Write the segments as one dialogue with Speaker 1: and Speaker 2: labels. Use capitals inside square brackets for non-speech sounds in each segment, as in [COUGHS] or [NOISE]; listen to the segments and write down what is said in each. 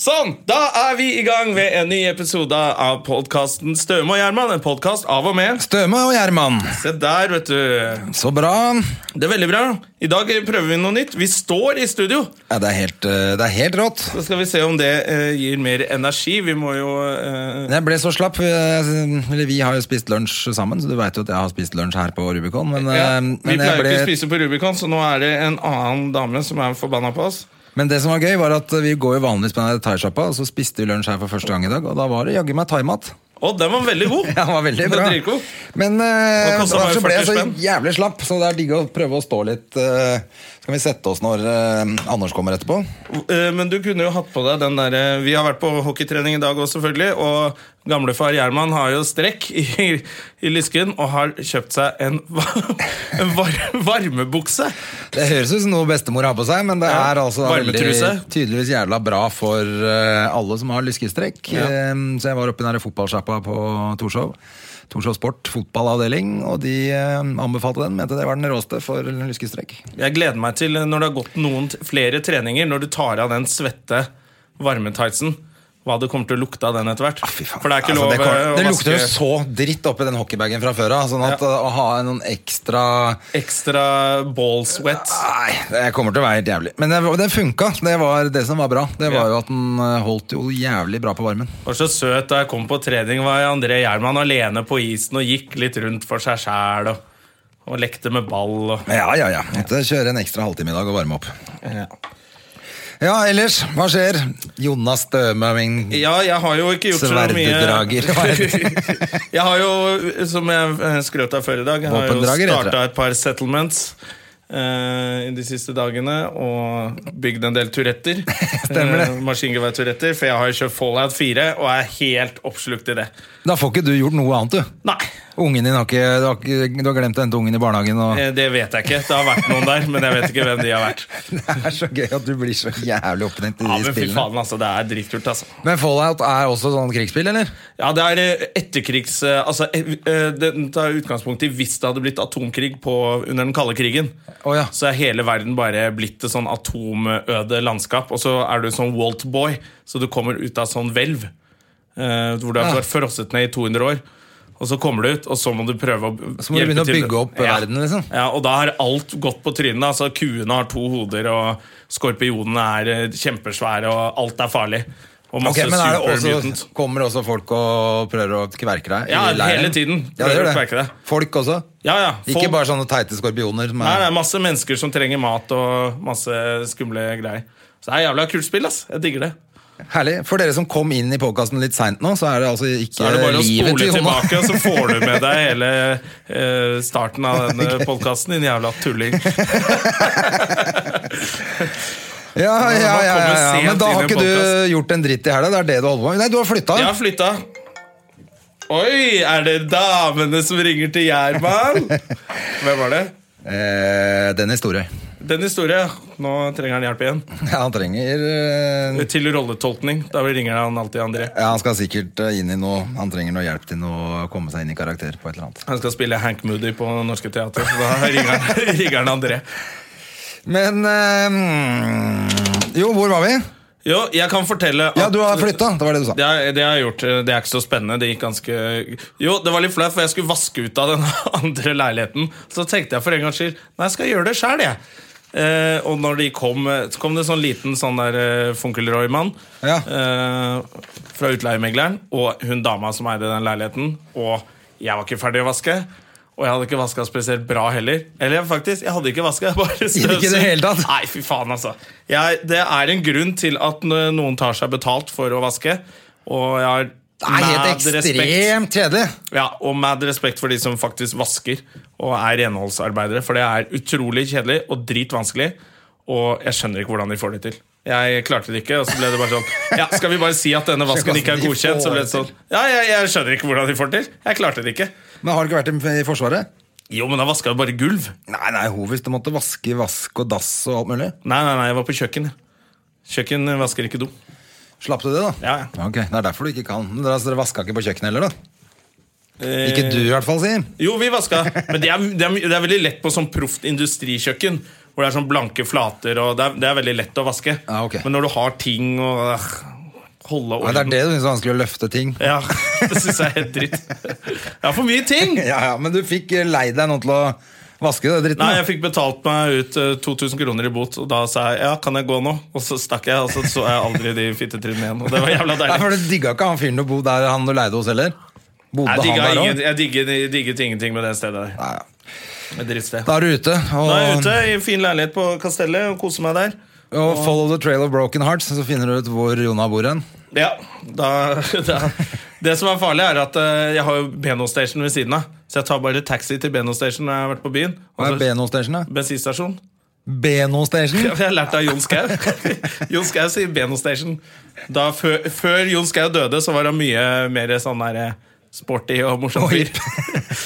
Speaker 1: Sånn, da er vi i gang med en ny episode av podkasten Støme og Gjerman. En podkast av og med.
Speaker 2: Støme og Gjerman.
Speaker 1: Se der, vet du.
Speaker 2: Så bra.
Speaker 1: Det er veldig bra. I dag prøver vi noe nytt. Vi står i studio.
Speaker 2: Ja, det, er helt, eh, det er helt rått.
Speaker 1: Så skal vi se om det eh, gir mer energi. Vi må jo eh,
Speaker 2: Jeg ble så slapp. eh, Eller vi har jo spist lunsj sammen, så du veit jo at jeg har spist lunsj her på Rubicon. Men,
Speaker 1: ja,
Speaker 2: eh,
Speaker 1: Vi
Speaker 2: men, jeg
Speaker 1: pleier jo ikke å
Speaker 2: ble,
Speaker 1: spise på Rubicon, så nå er det en annen dame som er forbanna på oss.
Speaker 2: men det som var gøy, var at vi går jo vanligvis på denne thaisjappa, og så spiste vi lunsj her for første gang i dag, og da var det jaggu meg thaimat. [LAUGHS]
Speaker 1: Å, den var veldig god!
Speaker 2: Ja, det var veldig
Speaker 1: Den
Speaker 2: bra.
Speaker 1: er dritgod.
Speaker 2: Men
Speaker 1: Det
Speaker 2: uh,
Speaker 1: kostet meg
Speaker 2: så ble jeg
Speaker 1: 40
Speaker 2: så
Speaker 1: spenn.
Speaker 2: jævlig slapp, så det er digg å prøve å stå litt. eh, så kan vi sette oss når eh, Anders kommer etterpå.
Speaker 1: Eh, Men du kunne jo hatt på deg den derre Vi har vært på hockeytrening i dag òg, selvfølgelig. Og gamlefar Gjerman har jo strekk i, i lysken og har kjøpt seg en, va- [LAUGHS] en var, varmebukse.
Speaker 2: Det høres ut som noe bestemor har på seg, men det
Speaker 1: Ja,
Speaker 2: er altså veldig,
Speaker 1: varmetruse.
Speaker 2: tydeligvis jævla bra for eh, alle som har lyskestrekk. Eh, så jeg var oppe i den der fotballsjappa på Torshov. Torshov Sport fotballavdeling, og de eh, anbefalte den. Mente det var den råeste for lyskestrekk.
Speaker 1: Jeg gleder meg til eh, når det har gått noen t- flere treninger, når du tar av den svette varmetightsen. Hva det kommer til å lukte av den etter hvert. For det er ikke
Speaker 2: Altså,
Speaker 1: lov
Speaker 2: det, kommer-
Speaker 1: eh, å
Speaker 2: det lukter jo
Speaker 1: vaske
Speaker 2: så dritt oppi den hockeybagen fra før av, sånn at eh, å ha noen ekstra
Speaker 1: ekstra ball sweat.
Speaker 2: Nei, det kommer til å være helt jævlig. Men det, det funka. Det var det som var bra. Det
Speaker 1: Ja.
Speaker 2: var jo at den eh, holdt jo jævlig bra på varmen.
Speaker 1: var så søt da jeg kom på trening, var André Gjerman alene på isen og gikk litt rundt for seg sjæl og, og lekte med ball. Og.
Speaker 2: Ja, ja, ja. Måtte kjøre en ekstra halvtime i dag og varme opp. Ja, ellers, hva skjer? Jonas Støme, min
Speaker 1: Ja, jeg har jo ikke gjort så mye
Speaker 2: Sverdedrager, hva heter
Speaker 1: [LAUGHS] Jeg har jo, som jeg eh, skrøt av før i dag, jeg har jo
Speaker 2: Våpendrager, heter det.
Speaker 1: starta et par settlements. eh, i de siste dagene og bygd en del turetter.
Speaker 2: [LAUGHS] Stemmer det.
Speaker 1: Eh, Maskingevær-turetter. For jeg har jo kjørt Fallout 4 og er helt oppslukt i det.
Speaker 2: Da får ikke du gjort noe annet, du.
Speaker 1: Nei,
Speaker 2: Ungen din har ikke, du, har ikke, du har glemt å hente ungen i barnehagen. Og...
Speaker 1: eh, det vet jeg ikke. Det har vært noen der, men jeg vet ikke hvem de har vært.
Speaker 2: [LAUGHS] Det er så gøy at du blir så jævlig opphengt i de
Speaker 1: Ja, men fy
Speaker 2: spillene.
Speaker 1: faen, altså. Det er dritkult, altså.
Speaker 2: Men Fallout er også sånn krigsspill, eller?
Speaker 1: Ja, det er eh, etterkrigs... eh, Altså, eh, eh, Den tar utgangspunkt i hvis det hadde blitt atomkrig på, under den kalde krigen.
Speaker 2: Å ja.
Speaker 1: Så er hele verden bare blitt et sånn atomøde landskap. Og så er du sånn Walt-boy, så du kommer ut av sånn hvelv. eh, Hvor du har
Speaker 2: Ja.
Speaker 1: vært frosset ned i 200 år. Og så kommer du ut, og så må du prøve å b-
Speaker 2: Så må du
Speaker 1: hjelpe
Speaker 2: begynne å
Speaker 1: til.
Speaker 2: bygge opp
Speaker 1: ja.
Speaker 2: verden, liksom.
Speaker 1: Ja, og da har alt gått på trynet. Altså, kuene har to hoder, og skorpionene er eh, kjempesvære, og alt er farlig. Og
Speaker 2: Ok,
Speaker 1: masse
Speaker 2: men er det
Speaker 1: supermutant.
Speaker 2: også, Kommer også folk og prøver å kverke deg? i
Speaker 1: Ja,
Speaker 2: leiren?
Speaker 1: hele tiden
Speaker 2: Ja, det
Speaker 1: prøver
Speaker 2: gjør
Speaker 1: å kverke
Speaker 2: det.
Speaker 1: deg.
Speaker 2: Folk også?
Speaker 1: Ja, ja. folk-
Speaker 2: Ikke bare sånne teite skorpioner? Som
Speaker 1: Nei, det
Speaker 2: er...
Speaker 1: er masse mennesker som trenger mat og masse skumle greier. Så det er jævla kult spill, ass. Jeg digger det.
Speaker 2: Herlig. For dere som kom inn i podkasten litt seint nå, så er det altså
Speaker 1: Så
Speaker 2: ikke
Speaker 1: er det bare å
Speaker 2: livet
Speaker 1: spole
Speaker 2: til Jonas.
Speaker 1: tilbake, altså. og så får du med deg hele eh, starten av
Speaker 2: [LAUGHS]
Speaker 1: denne podkasten, din jævla tulling.
Speaker 2: [LAUGHS] Ja, ja, ja, ja, ja, ja.
Speaker 1: kommer
Speaker 2: Men da
Speaker 1: sent
Speaker 2: har
Speaker 1: inn i
Speaker 2: ikke
Speaker 1: podcast.
Speaker 2: du gjort en dritt i helga? Det er det du holder på med? Nei, du har flytta.
Speaker 1: Jeg har flytta. Oi, er det damene som ringer til Gjerman? Hvem var det?
Speaker 2: Eh, den er store.
Speaker 1: Den historien. Nå trenger han hjelp igjen.
Speaker 2: [LAUGHS] Ja, han trenger eh,
Speaker 1: Til rolletolkning. Da ringer han alltid André.
Speaker 2: ja, Han skal sikkert eh, inn i noe Han trenger noe hjelp til noe, å komme seg inn i karakter på et eller annet.
Speaker 1: Han skal spille Hank Moody på Norske Teater. så Da ringer han, [LAUGHS] ringer han André.
Speaker 2: Men eh, mm, Jo, hvor var vi?
Speaker 1: Jo, jeg kan fortelle
Speaker 2: Ja, du har flytta. Det var det du sa.
Speaker 1: Det, har- det har jeg gjort. Det er ikke så spennende. Det gikk ganske Jo, det var litt flaut, for jeg skulle vaske ut av den [LAUGHS] andre leiligheten. Så tenkte jeg for en gangs skyld Nei, jeg skal gjøre det sjøl, jeg. Eh, og når de kom, eh, så kom det sånn liten sånn der eh, Funkelroy-mann
Speaker 2: Ja.
Speaker 1: eh, fra utleiemegleren, og hun dama som eide den leiligheten. Og jeg var ikke ferdig å vaske. Og jeg hadde ikke vaska spesielt bra heller. Eller faktisk, [LAUGHS] jeg hadde ikke vaska.
Speaker 2: Ikke i det hele tatt?
Speaker 1: Nei, fy faen, altså. Jeg, det er en grunn til at n- noen tar seg betalt for å vaske. Og jeg har
Speaker 2: Det er helt
Speaker 1: respekt,
Speaker 2: ekstremt kjedelig.
Speaker 1: ja, og mad respekt for de som faktisk vasker og er renholdsarbeidere. For det er utrolig kjedelig og dritvanskelig, og jeg skjønner ikke hvordan de får det til. Jeg klarte det ikke, og så ble det bare sånn Ja, skal vi bare si at denne vasken ikke er godkjent? Så ble det sånn Ja, jeg, jeg skjønner ikke hvordan de får det til. Jeg klarte det ikke.
Speaker 2: Men har du ikke vært i- i Forsvaret?
Speaker 1: Jo, men da vaska jo bare gulv.
Speaker 2: Nei, nei, Hovis, du måtte vaske vask og dass og alt mulig.
Speaker 1: Nei, nei, nei, jeg var på kjøkken. jeg. Kjøkken vasker ikke do.
Speaker 2: Slapp du det, da?
Speaker 1: Ja, ja.
Speaker 2: Ok, Det er derfor du ikke kan. Men dere, altså, dere vaska ikke på kjøkkenet heller, da?
Speaker 1: Eh,
Speaker 2: Ikke du, i hvert fall, si.
Speaker 1: Jo, vi vaska, men det er, det, er, det er veldig lett på sånn proft industrikjøkken. Hvor det er sånn blanke flater, og det er, det er veldig lett å vaske.
Speaker 2: Ja, ok.
Speaker 1: Men når du har ting og øh, holde
Speaker 2: Nei, det er
Speaker 1: orden
Speaker 2: det du syns er vanskelig å løfte ting.
Speaker 1: Ja, [LAUGHS] det syns jeg er helt dritt. Jeg har for mye ting!
Speaker 2: Ja, ja, Men du fikk eh, lei deg noen til å vaske det dritten?
Speaker 1: Nei,
Speaker 2: da.
Speaker 1: jeg fikk betalt meg ut eh, 2000 kroner i bot, og da sa jeg ja, kan jeg gå nå? Og så stakk jeg, og så så jeg aldri de fittetrynene igjen. Og det var jævla
Speaker 2: Nei,
Speaker 1: deilig.
Speaker 2: for Du digga ikke han fyren du bodde der han du leide hos heller? Bodde
Speaker 1: Jeg
Speaker 2: han
Speaker 1: digget
Speaker 2: der
Speaker 1: ingen-
Speaker 2: òg?
Speaker 1: jeg digget, jeg digget ingenting med det stedet der.
Speaker 2: Ja, ja.
Speaker 1: Med drittsted.
Speaker 2: Da er du ute. Og,
Speaker 1: Nå er jeg ute i fin leilighet på Kastellet og koser meg der.
Speaker 2: og follow the trail of broken hearts, så finner du ut hvor Jonna bor hen.
Speaker 1: Ja, da, [LAUGHS] da. Det som er farlig, er at eh, jeg har jo Beno Station ved siden av. Så jeg tar bare taxi til Beno Station når jeg har vært på byen. og
Speaker 2: Hva
Speaker 1: så-
Speaker 2: er Beno Station, da?
Speaker 1: Bensinstasjon. [LAUGHS]
Speaker 2: Beno Station?
Speaker 1: Ja, for Jeg har lært av Jon Skau. [LAUGHS] Jon Skau sier Beno Station. Da, før, før Jon Skau døde, så var han mye mer sånn der eh, sporty og morsom
Speaker 2: Og
Speaker 1: fyr. [LAUGHS]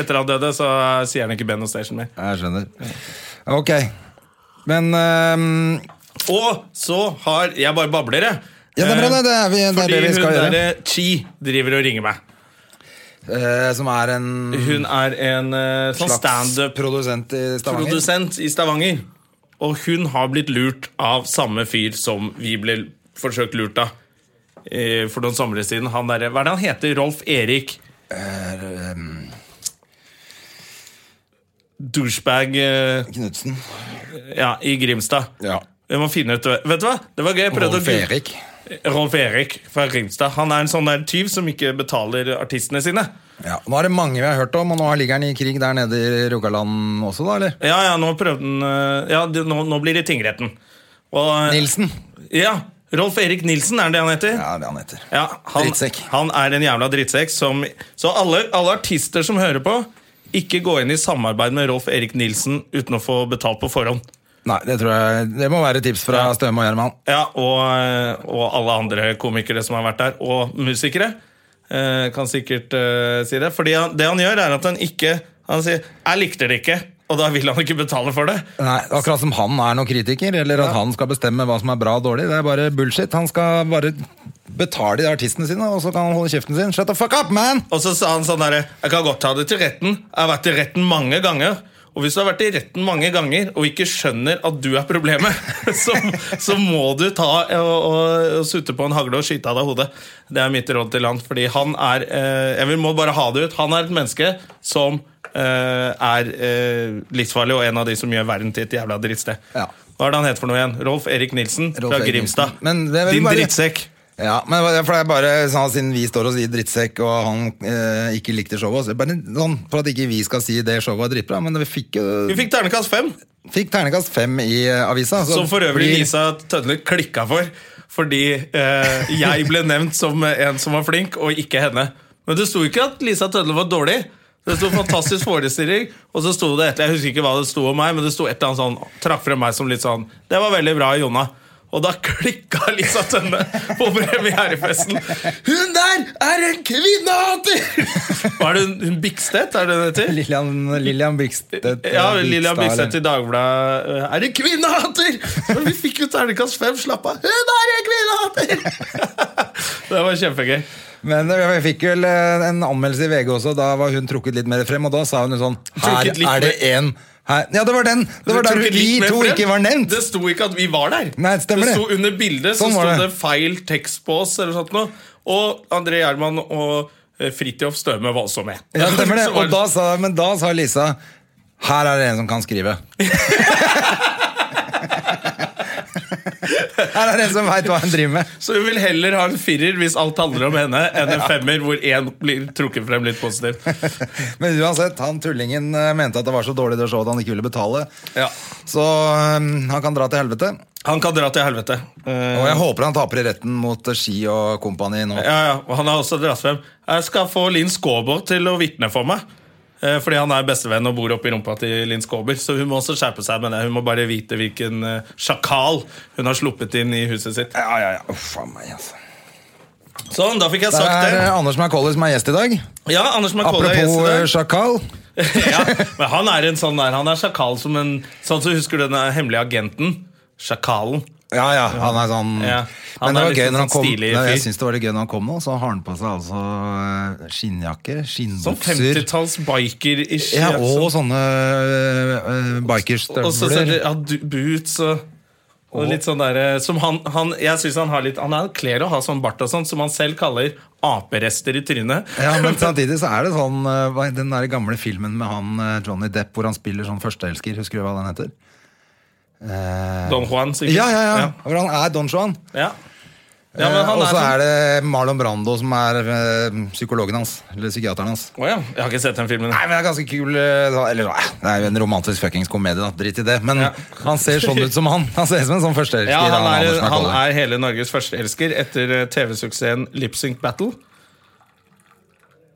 Speaker 1: Etter han døde, så eh, sier han ikke Beno Station mer.
Speaker 2: Jeg skjønner. Ok. Men ehm,
Speaker 1: Og så har Jeg bare babler, jeg. Eh,
Speaker 2: Ja, det er bra, det. Det er, vi, det, er
Speaker 1: Fordi
Speaker 2: det vi
Speaker 1: hun
Speaker 2: skal gjøre.
Speaker 1: derre Chi driver og ringer meg.
Speaker 2: Eh, som er en
Speaker 1: Hun er en eh, sånn standup
Speaker 2: produsent i Stavanger.
Speaker 1: produsent i Stavanger. Og hun har blitt lurt av samme fyr som vi ble forsøkt lurt av eh, for noen somre siden. Han derre- hva er det han heter? Rolf Erik
Speaker 2: ehm,
Speaker 1: Douchebag eh,
Speaker 2: Knutsen.
Speaker 1: ja, i Grimstad.
Speaker 2: Ja.
Speaker 1: Vi må finne ut Vet du hva? Det var gøy. Jeg prøvde å
Speaker 2: Rolf
Speaker 1: gu-
Speaker 2: Erik.
Speaker 1: Rolf Erik fra Grimstad. Han er en sånn der tyv som ikke betaler artistene sine.
Speaker 2: Ja. Nå er det mange vi har hørt om, og nå ligger han i krig der nede i Rogaland også, da, eller?
Speaker 1: Ja, ja, nå prøvde den eh, Ja, det- nå, nå blir det tingretten. Og,
Speaker 2: Nilsen.
Speaker 1: Ja, Rolf Erik Nilsen er det han heter.
Speaker 2: Ja, det er han heter.
Speaker 1: Ja, han,
Speaker 2: Drittsekk.
Speaker 1: han er en jævla drittsekk som Så alle, alle artister som hører på, ikke gå inn i samarbeid med Rolf Erik Nilsen uten å få betalt på forhånd.
Speaker 2: Nei, det tror jeg Det må være tips fra Støme og Gjerman.
Speaker 1: Ja, og, eh, og alle andre komikere som har vært der, og musikere, eh, kan sikkert eh, si det. Fordi han, det han gjør, er at han ikke Han sier 'jeg likte det ikke', og da vil han ikke betale for det.
Speaker 2: Nei, Akkurat som han er noen kritiker, eller at han skal bestemme hva som er bra og dårlig. Det er bare bullshit. Han skal bare betale de artistene sine, og så kan han holde kjeften sin. Shut the fuck up, man!
Speaker 1: Og så sa han sånn derre Jeg kan godt ta det til retten. Jeg har vært i retten mange ganger. Og hvis du har vært i retten mange ganger og ikke skjønner at du er problemet, [LAUGHS] så, så må du ta og, og, og sutte på en hagle og skyte av deg hodet. Det er mitt råd til han. Fordi han er eh, Jeg vil må bare ha det ut. Han er et menneske som eh, er eh, livsfarlig, og en av de som gjør verden til et jævla drittsted.
Speaker 2: Ja.
Speaker 1: Hva er det han heter for noe igjen? Rolf Erik Nilsen
Speaker 2: Rolf
Speaker 1: fra
Speaker 2: Erik
Speaker 1: Grimstad.
Speaker 2: Nilsen. Men det er vel
Speaker 1: Din
Speaker 2: bare-
Speaker 1: drittsekk.
Speaker 2: Ja, men det er for det er bare sånn, Siden vi står og sier drittsekk, og han eh, ikke likte showet så er det bare sånn, For at ikke vi skal si det showet var dritbra, men vi fikk, jo-
Speaker 1: Vi fikk ternekast fem.
Speaker 2: fikk ternekast fem i eh, avisa. så
Speaker 1: Som for øvrig
Speaker 2: blir-
Speaker 1: Lisa altså. Tønne klikka for, fordi eh, jeg ble nevnt som en som var flink, og ikke henne. Men det sto ikke at Lisa Tønne var dårlig. Det sto 'fantastisk forestilling', og så sto det et eller annet- jeg husker ikke hva det sto om meg, men det sto et eller annet sånn, trakk frem meg som litt sånn 'Det var veldig bra, Jonna'. Og da klikka Lisa Tønne på premierefesten. 'Hun der er en kvinnehater!' Hva er det hun- hun Bikstedt? Er det hun heter?
Speaker 2: [LAUGHS] Lillian, Lillian Bikstedt.
Speaker 1: Ja, Lillian Bikstedt i
Speaker 2: eller-
Speaker 1: Dagbladet eh, Er det kvinnehater?! Men vi fikk jo terningkast fem, slapp av! Hun er en
Speaker 2: [LAUGHS]
Speaker 1: kvinnehater! det var kjempegøy.
Speaker 2: Men eh, vi fikk vel eh, en anmeldelse i VG også, da var hun trukket litt mer frem, og da sa hun jo sånn Her
Speaker 1: Trukket litt
Speaker 2: er det en her. Ja, det var den! Det var
Speaker 1: Du
Speaker 2: der
Speaker 1: tok et
Speaker 2: vi
Speaker 1: litt mer
Speaker 2: to
Speaker 1: frem.
Speaker 2: ikke var nevnt!
Speaker 1: Det sto ikke at vi var der.
Speaker 2: Nei, det stemmer
Speaker 1: det
Speaker 2: det.
Speaker 1: sto under bildet
Speaker 2: Sånn
Speaker 1: så
Speaker 2: var
Speaker 1: sto det.
Speaker 2: det.
Speaker 1: feil tekst på oss. eller sånt noe. Og André Gjerman og eh, Fridtjof Støme var også med.
Speaker 2: Ja, stemmer [LAUGHS] det.
Speaker 1: [LAUGHS] Så var
Speaker 2: Og da sa, men da sa Lisa her er det en som kan
Speaker 1: [LAUGHS]
Speaker 2: skrive. Her er det en som veit hva han driver med.
Speaker 1: Så hun vil heller ha en firer hvis alt handler om henne, enn
Speaker 2: [LAUGHS]
Speaker 1: en femmer hvor én blir trukket frem litt positivt.
Speaker 2: Men uansett, han tullingen eh, mente at det var så dårlig det showet at han ikke ville betale.
Speaker 1: Ja.
Speaker 2: Så eh, han kan dra til helvete.
Speaker 1: Han kan dra til helvete. Eh,
Speaker 2: Og jeg håper han taper i retten mot eh, Ski og kompani nå.
Speaker 1: Ja, ja, og han har også dratt frem Jeg skal få Linn Skåber til å vitne for meg Eh, Eh, Fordi han er bestevenn og bor oppi rumpa til Linn Skåber. Så hun må også skjerpe seg med det. Hun må bare vite hvilken eh, sjakal hun har sluppet inn i huset sitt.
Speaker 2: Ja, ja, ja. Uff a meg, altså.
Speaker 1: Sånn, da fikk jeg
Speaker 2: Det
Speaker 1: sagt
Speaker 2: er eh,
Speaker 1: det.
Speaker 2: Anders McCauley som er gjest i dag.
Speaker 1: Ja, Anders McCauley er gjest i
Speaker 2: Apropos
Speaker 1: dag.
Speaker 2: eh, sjakal.
Speaker 1: [LAUGHS] ja, men han er en sånn der, han er sjakal som en Sånn som husker du den der hemmelige agenten? Sjakalen.
Speaker 2: Ja, ja, han er sånn
Speaker 1: Ja, han
Speaker 2: Men det
Speaker 1: er
Speaker 2: var
Speaker 1: liksom
Speaker 2: gøy når han
Speaker 1: sånn
Speaker 2: kom
Speaker 1: stilig
Speaker 2: Nei, Jeg
Speaker 1: fyr.
Speaker 2: synes det var litt gøy når han kom nå, så har han på seg altså eh, skinnjakker,
Speaker 1: Sånn
Speaker 2: skinnbukser
Speaker 1: 50-talls biker-ish.
Speaker 2: ja, og
Speaker 1: liksom.
Speaker 2: sånne uh,
Speaker 1: og så ser
Speaker 2: bikerstøvler.
Speaker 1: du- ja, du- boots og og litt sånn der, eh, som han, han, jeg synes han har litt Han er kler å ha sånn bart og sånn, som han selv kaller aperester i trynet.
Speaker 2: [LAUGHS] Ja, men samtidig så er det sånn eh, hva- Den der gamle filmen med han eh, Johnny Depp hvor han spiller sånn førsteelsker, husker du hva den heter? Eh,
Speaker 1: Don Juan, sikkert.
Speaker 2: ja, ja, ja,
Speaker 1: ja.
Speaker 2: Hvor han er Don Juan.
Speaker 1: ja. Ja, men han
Speaker 2: Eh, og så
Speaker 1: sånn-
Speaker 2: er det Marlon Brando som er eh, psykologen hans. Eller psykiateren hans.
Speaker 1: Å ja. Jeg har ikke sett den filmen.
Speaker 2: Nei, men det er ganske kul eh, da- Eller nei, det er jo en romantisk fuckings komedie, da. Drit i det. Men
Speaker 1: Ja.
Speaker 2: han ser sånn ut som han. Han ser ut som en sånn førsteelsker.
Speaker 1: Ja, han er,
Speaker 2: Anders
Speaker 1: han
Speaker 2: McCauley.
Speaker 1: er hele Norges førsteelsker etter eh, TV-suksessen Lipsync Battle.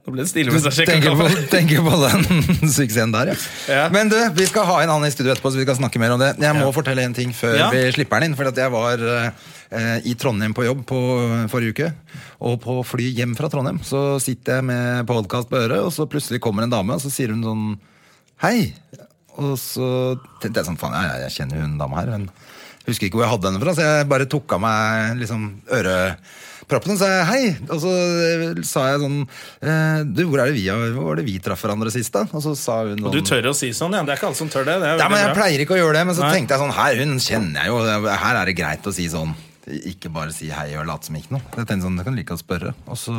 Speaker 1: Nå ble det stille mens jeg sjekket
Speaker 2: Tenker på,
Speaker 1: kaffe.
Speaker 2: tenker på den [LAUGHS] suksessen der, ja.
Speaker 1: Ja.
Speaker 2: Men du, vi skal ha en annen i studio etterpå, så vi skal snakke mer om det. Jeg må fortelle en ting før
Speaker 1: Ja.
Speaker 2: vi slipper den inn. For at jeg var eh, i Trondheim på jobb på forrige uke. Og på fly hjem fra Trondheim så sitter jeg med podkast på øret, og så plutselig kommer en dame, og så sier hun sånn Hei. Og så tenkte jeg sånn Faen, jeg, jeg kjenner jo hun dama her. Hun husker ikke hvor jeg hadde henne fra, så jeg bare tok av meg liksom øreproppene og sa jeg, hei. Og så eh, sa jeg sånn eh, Du, hvor er det vi, har- hvor var det vi traff hverandre sist, da? Og så sa hun
Speaker 1: Du
Speaker 2: sånn
Speaker 1: tør å si sånn, ja. Det er ikke alle som tør det. det er
Speaker 2: ja, men
Speaker 1: veldig
Speaker 2: Jeg
Speaker 1: bra.
Speaker 2: pleier ikke å gjøre det, men så
Speaker 1: Nei.
Speaker 2: tenkte jeg sånn Her, hun kjenner jeg jo, her er det greit å si sånn. Ikke bare si hei og late som ikke noe. Jeg tenkte sånn, jeg kan like å spørre Og så,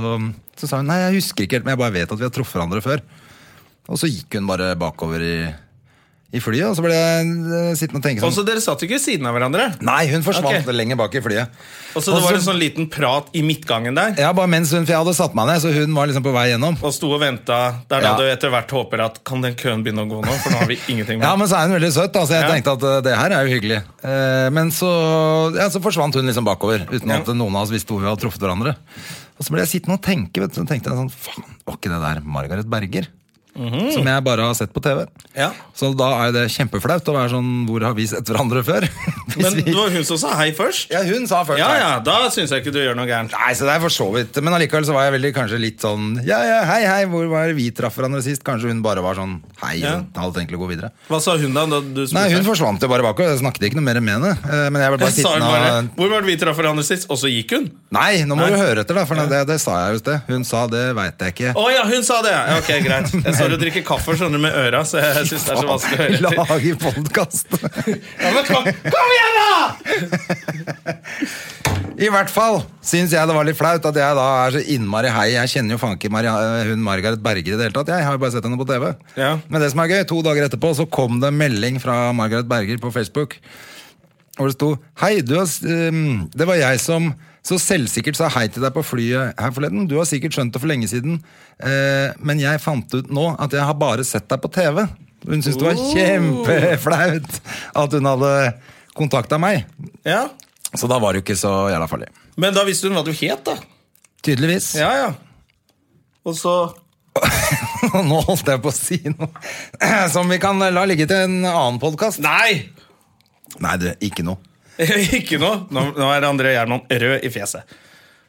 Speaker 2: så sa hun nei, jeg husker ikke helt, men jeg bare vet at vi har truffet hverandre før. Og så gikk hun bare bakover i, i flyet, og så ble jeg eh, sittende og tenke
Speaker 1: Og
Speaker 2: sånn.
Speaker 1: så Dere satt ikke ved siden av hverandre.
Speaker 2: Nei, hun forsvant
Speaker 1: Ok.
Speaker 2: lenger bak i flyet.
Speaker 1: Og så Det var en sånn liten prat i midtgangen der.
Speaker 2: Ja, bare mens hun, For jeg hadde satt meg ned, så hun var liksom på vei gjennom.
Speaker 1: Og sto og venta. Det er da
Speaker 2: Ja.
Speaker 1: du etter hvert håper at Kan den køen begynne å gå nå? For nå har vi
Speaker 2: [LAUGHS]
Speaker 1: ingenting
Speaker 2: Ja,
Speaker 1: med
Speaker 2: men så er hun veldig søt, da, så jeg
Speaker 1: Ja.
Speaker 2: tenkte at eh, det her er jo hyggelig. Eh, men så, ja, så forsvant hun liksom bakover, uten at noen av oss visste hvor vi hadde truffet hverandre. Og så ble jeg sittende og tenke, vet du, så tenkte jeg sånn, faen, var ikke det der Margaret Berger? Som jeg bare har sett på TV.
Speaker 1: Mhm. Ja.
Speaker 2: Så da er jo det kjempeflaut å være sånn, hvor har vi sett hverandre før? [LAUGHS] Hvis
Speaker 1: Men
Speaker 2: vi-
Speaker 1: det var hun som sa hei først.
Speaker 2: Ja, hun sa først.
Speaker 1: Ja
Speaker 2: her.
Speaker 1: ja, da syns jeg ikke du gjør noe gærent.
Speaker 2: Nei, så det er for så vidt. Men allikevel så var jeg veldig, kanskje litt sånn, ja, ja, hei, hei, hvor var det vi traff hverandre sist? Kanskje hun bare var sånn, hei,
Speaker 1: Ja.
Speaker 2: hun hadde tenkt å gå videre.
Speaker 1: Hva sa hun da? da du spurte?
Speaker 2: Nei, hun forsvant jo bare bakover. Jeg snakket ikke noe mer med henne. Eh, Men jeg ble bare
Speaker 1: Sa hun
Speaker 2: sittende
Speaker 1: bare,
Speaker 2: og
Speaker 1: Hvor var det vi traff hverandre sist? Og så gikk hun?
Speaker 2: Nei, nå må
Speaker 1: Nei.
Speaker 2: du høre etter, da, for det, det sa jeg jo i sted. Hun sa 'det veit jeg ikke'.
Speaker 1: Å ja, hun sa det! ja. Ok,
Speaker 2: [LAUGHS]
Speaker 1: Greit. Jeg står og drikker kaffe skjønner du, med øra, så jeg syns det er så vanskelig å
Speaker 2: [LAUGHS]
Speaker 1: høre etter.
Speaker 2: Lager podkast!
Speaker 1: Ja, men kom, kom igjen, da!
Speaker 2: I hvert fall syns jeg det var litt flaut at jeg da er så innmari hei. Jeg kjenner jo faen ikke Maria, hun Margaret Berger i det hele tatt. Jeg har jo bare sett henne på TV.
Speaker 1: Ja.
Speaker 2: Men det som er gøy, to dager etterpå så kom det en melding fra Margaret Berger på Facebook. Hvor det sto Hei, du har, s- ehm, det var jeg som så selvsikkert sa hei til deg på flyet her forleden. Du har sikkert skjønt det for lenge siden, eh, men jeg fant ut nå at jeg har bare sett deg på TV. Hun syntes det var kjempeflaut at hun hadde kontakta meg.
Speaker 1: Ja,
Speaker 2: Så da var det jo ikke så jævla farlig.
Speaker 1: Men da visste hun hva du het, da.
Speaker 2: Tydeligvis.
Speaker 1: Ja, ja. Og så
Speaker 2: [LAUGHS] Nå holdt jeg på å si noe [CLEARS THROAT] som vi kan la ligge til en annen podkast.
Speaker 1: Nei! [LAUGHS]
Speaker 2: Nei, du, ikke noe.
Speaker 1: Ikke noe. Nå, nå er André Gjerman rød i fjeset.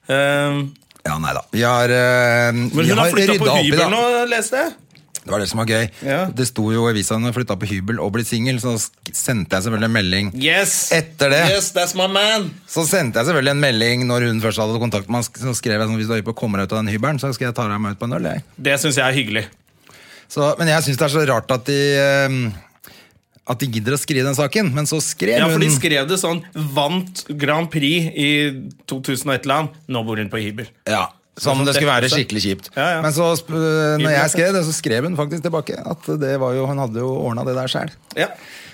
Speaker 1: Ehm,
Speaker 2: Ja, nei da. Vi har, eh, vi
Speaker 1: men hun har flytta
Speaker 2: rydda
Speaker 1: på
Speaker 2: opp i det.
Speaker 1: hybel nå, leste jeg.
Speaker 2: Det var det som var gøy.
Speaker 1: Ja.
Speaker 2: Det sto jo i avisa hun flytta på hybel og blitt singel, så sk- sendte jeg selvfølgelig en melding.
Speaker 1: Yes!
Speaker 2: Etter det.
Speaker 1: Yes, that's my man!
Speaker 2: Så sendte jeg selvfølgelig en melding når hun først hadde kontakt med meg, sk- så skrev jeg sånn hvis du er på, kommer deg ut av den hybelen, så skal jeg ta deg med ut på en øl. Jeg.
Speaker 1: Det syns jeg er hyggelig.
Speaker 2: Så, men jeg syns det er så rart at de eh, At de gidder å skrive den saken. Men så skrev
Speaker 1: Ja, for
Speaker 2: hun
Speaker 1: de skrev det sånn. Vant Grand Prix i 2000 og et eller annet. Nå bor hun på hybel.
Speaker 2: Ja, som det skulle være skikkelig kjipt.
Speaker 1: Altså, Ja, ja.
Speaker 2: Men så, sp- eh, øh, når jeg skrev det, så skrev hun faktisk tilbake at det var jo, hun hadde jo ordna det der sjæl.
Speaker 1: Ja.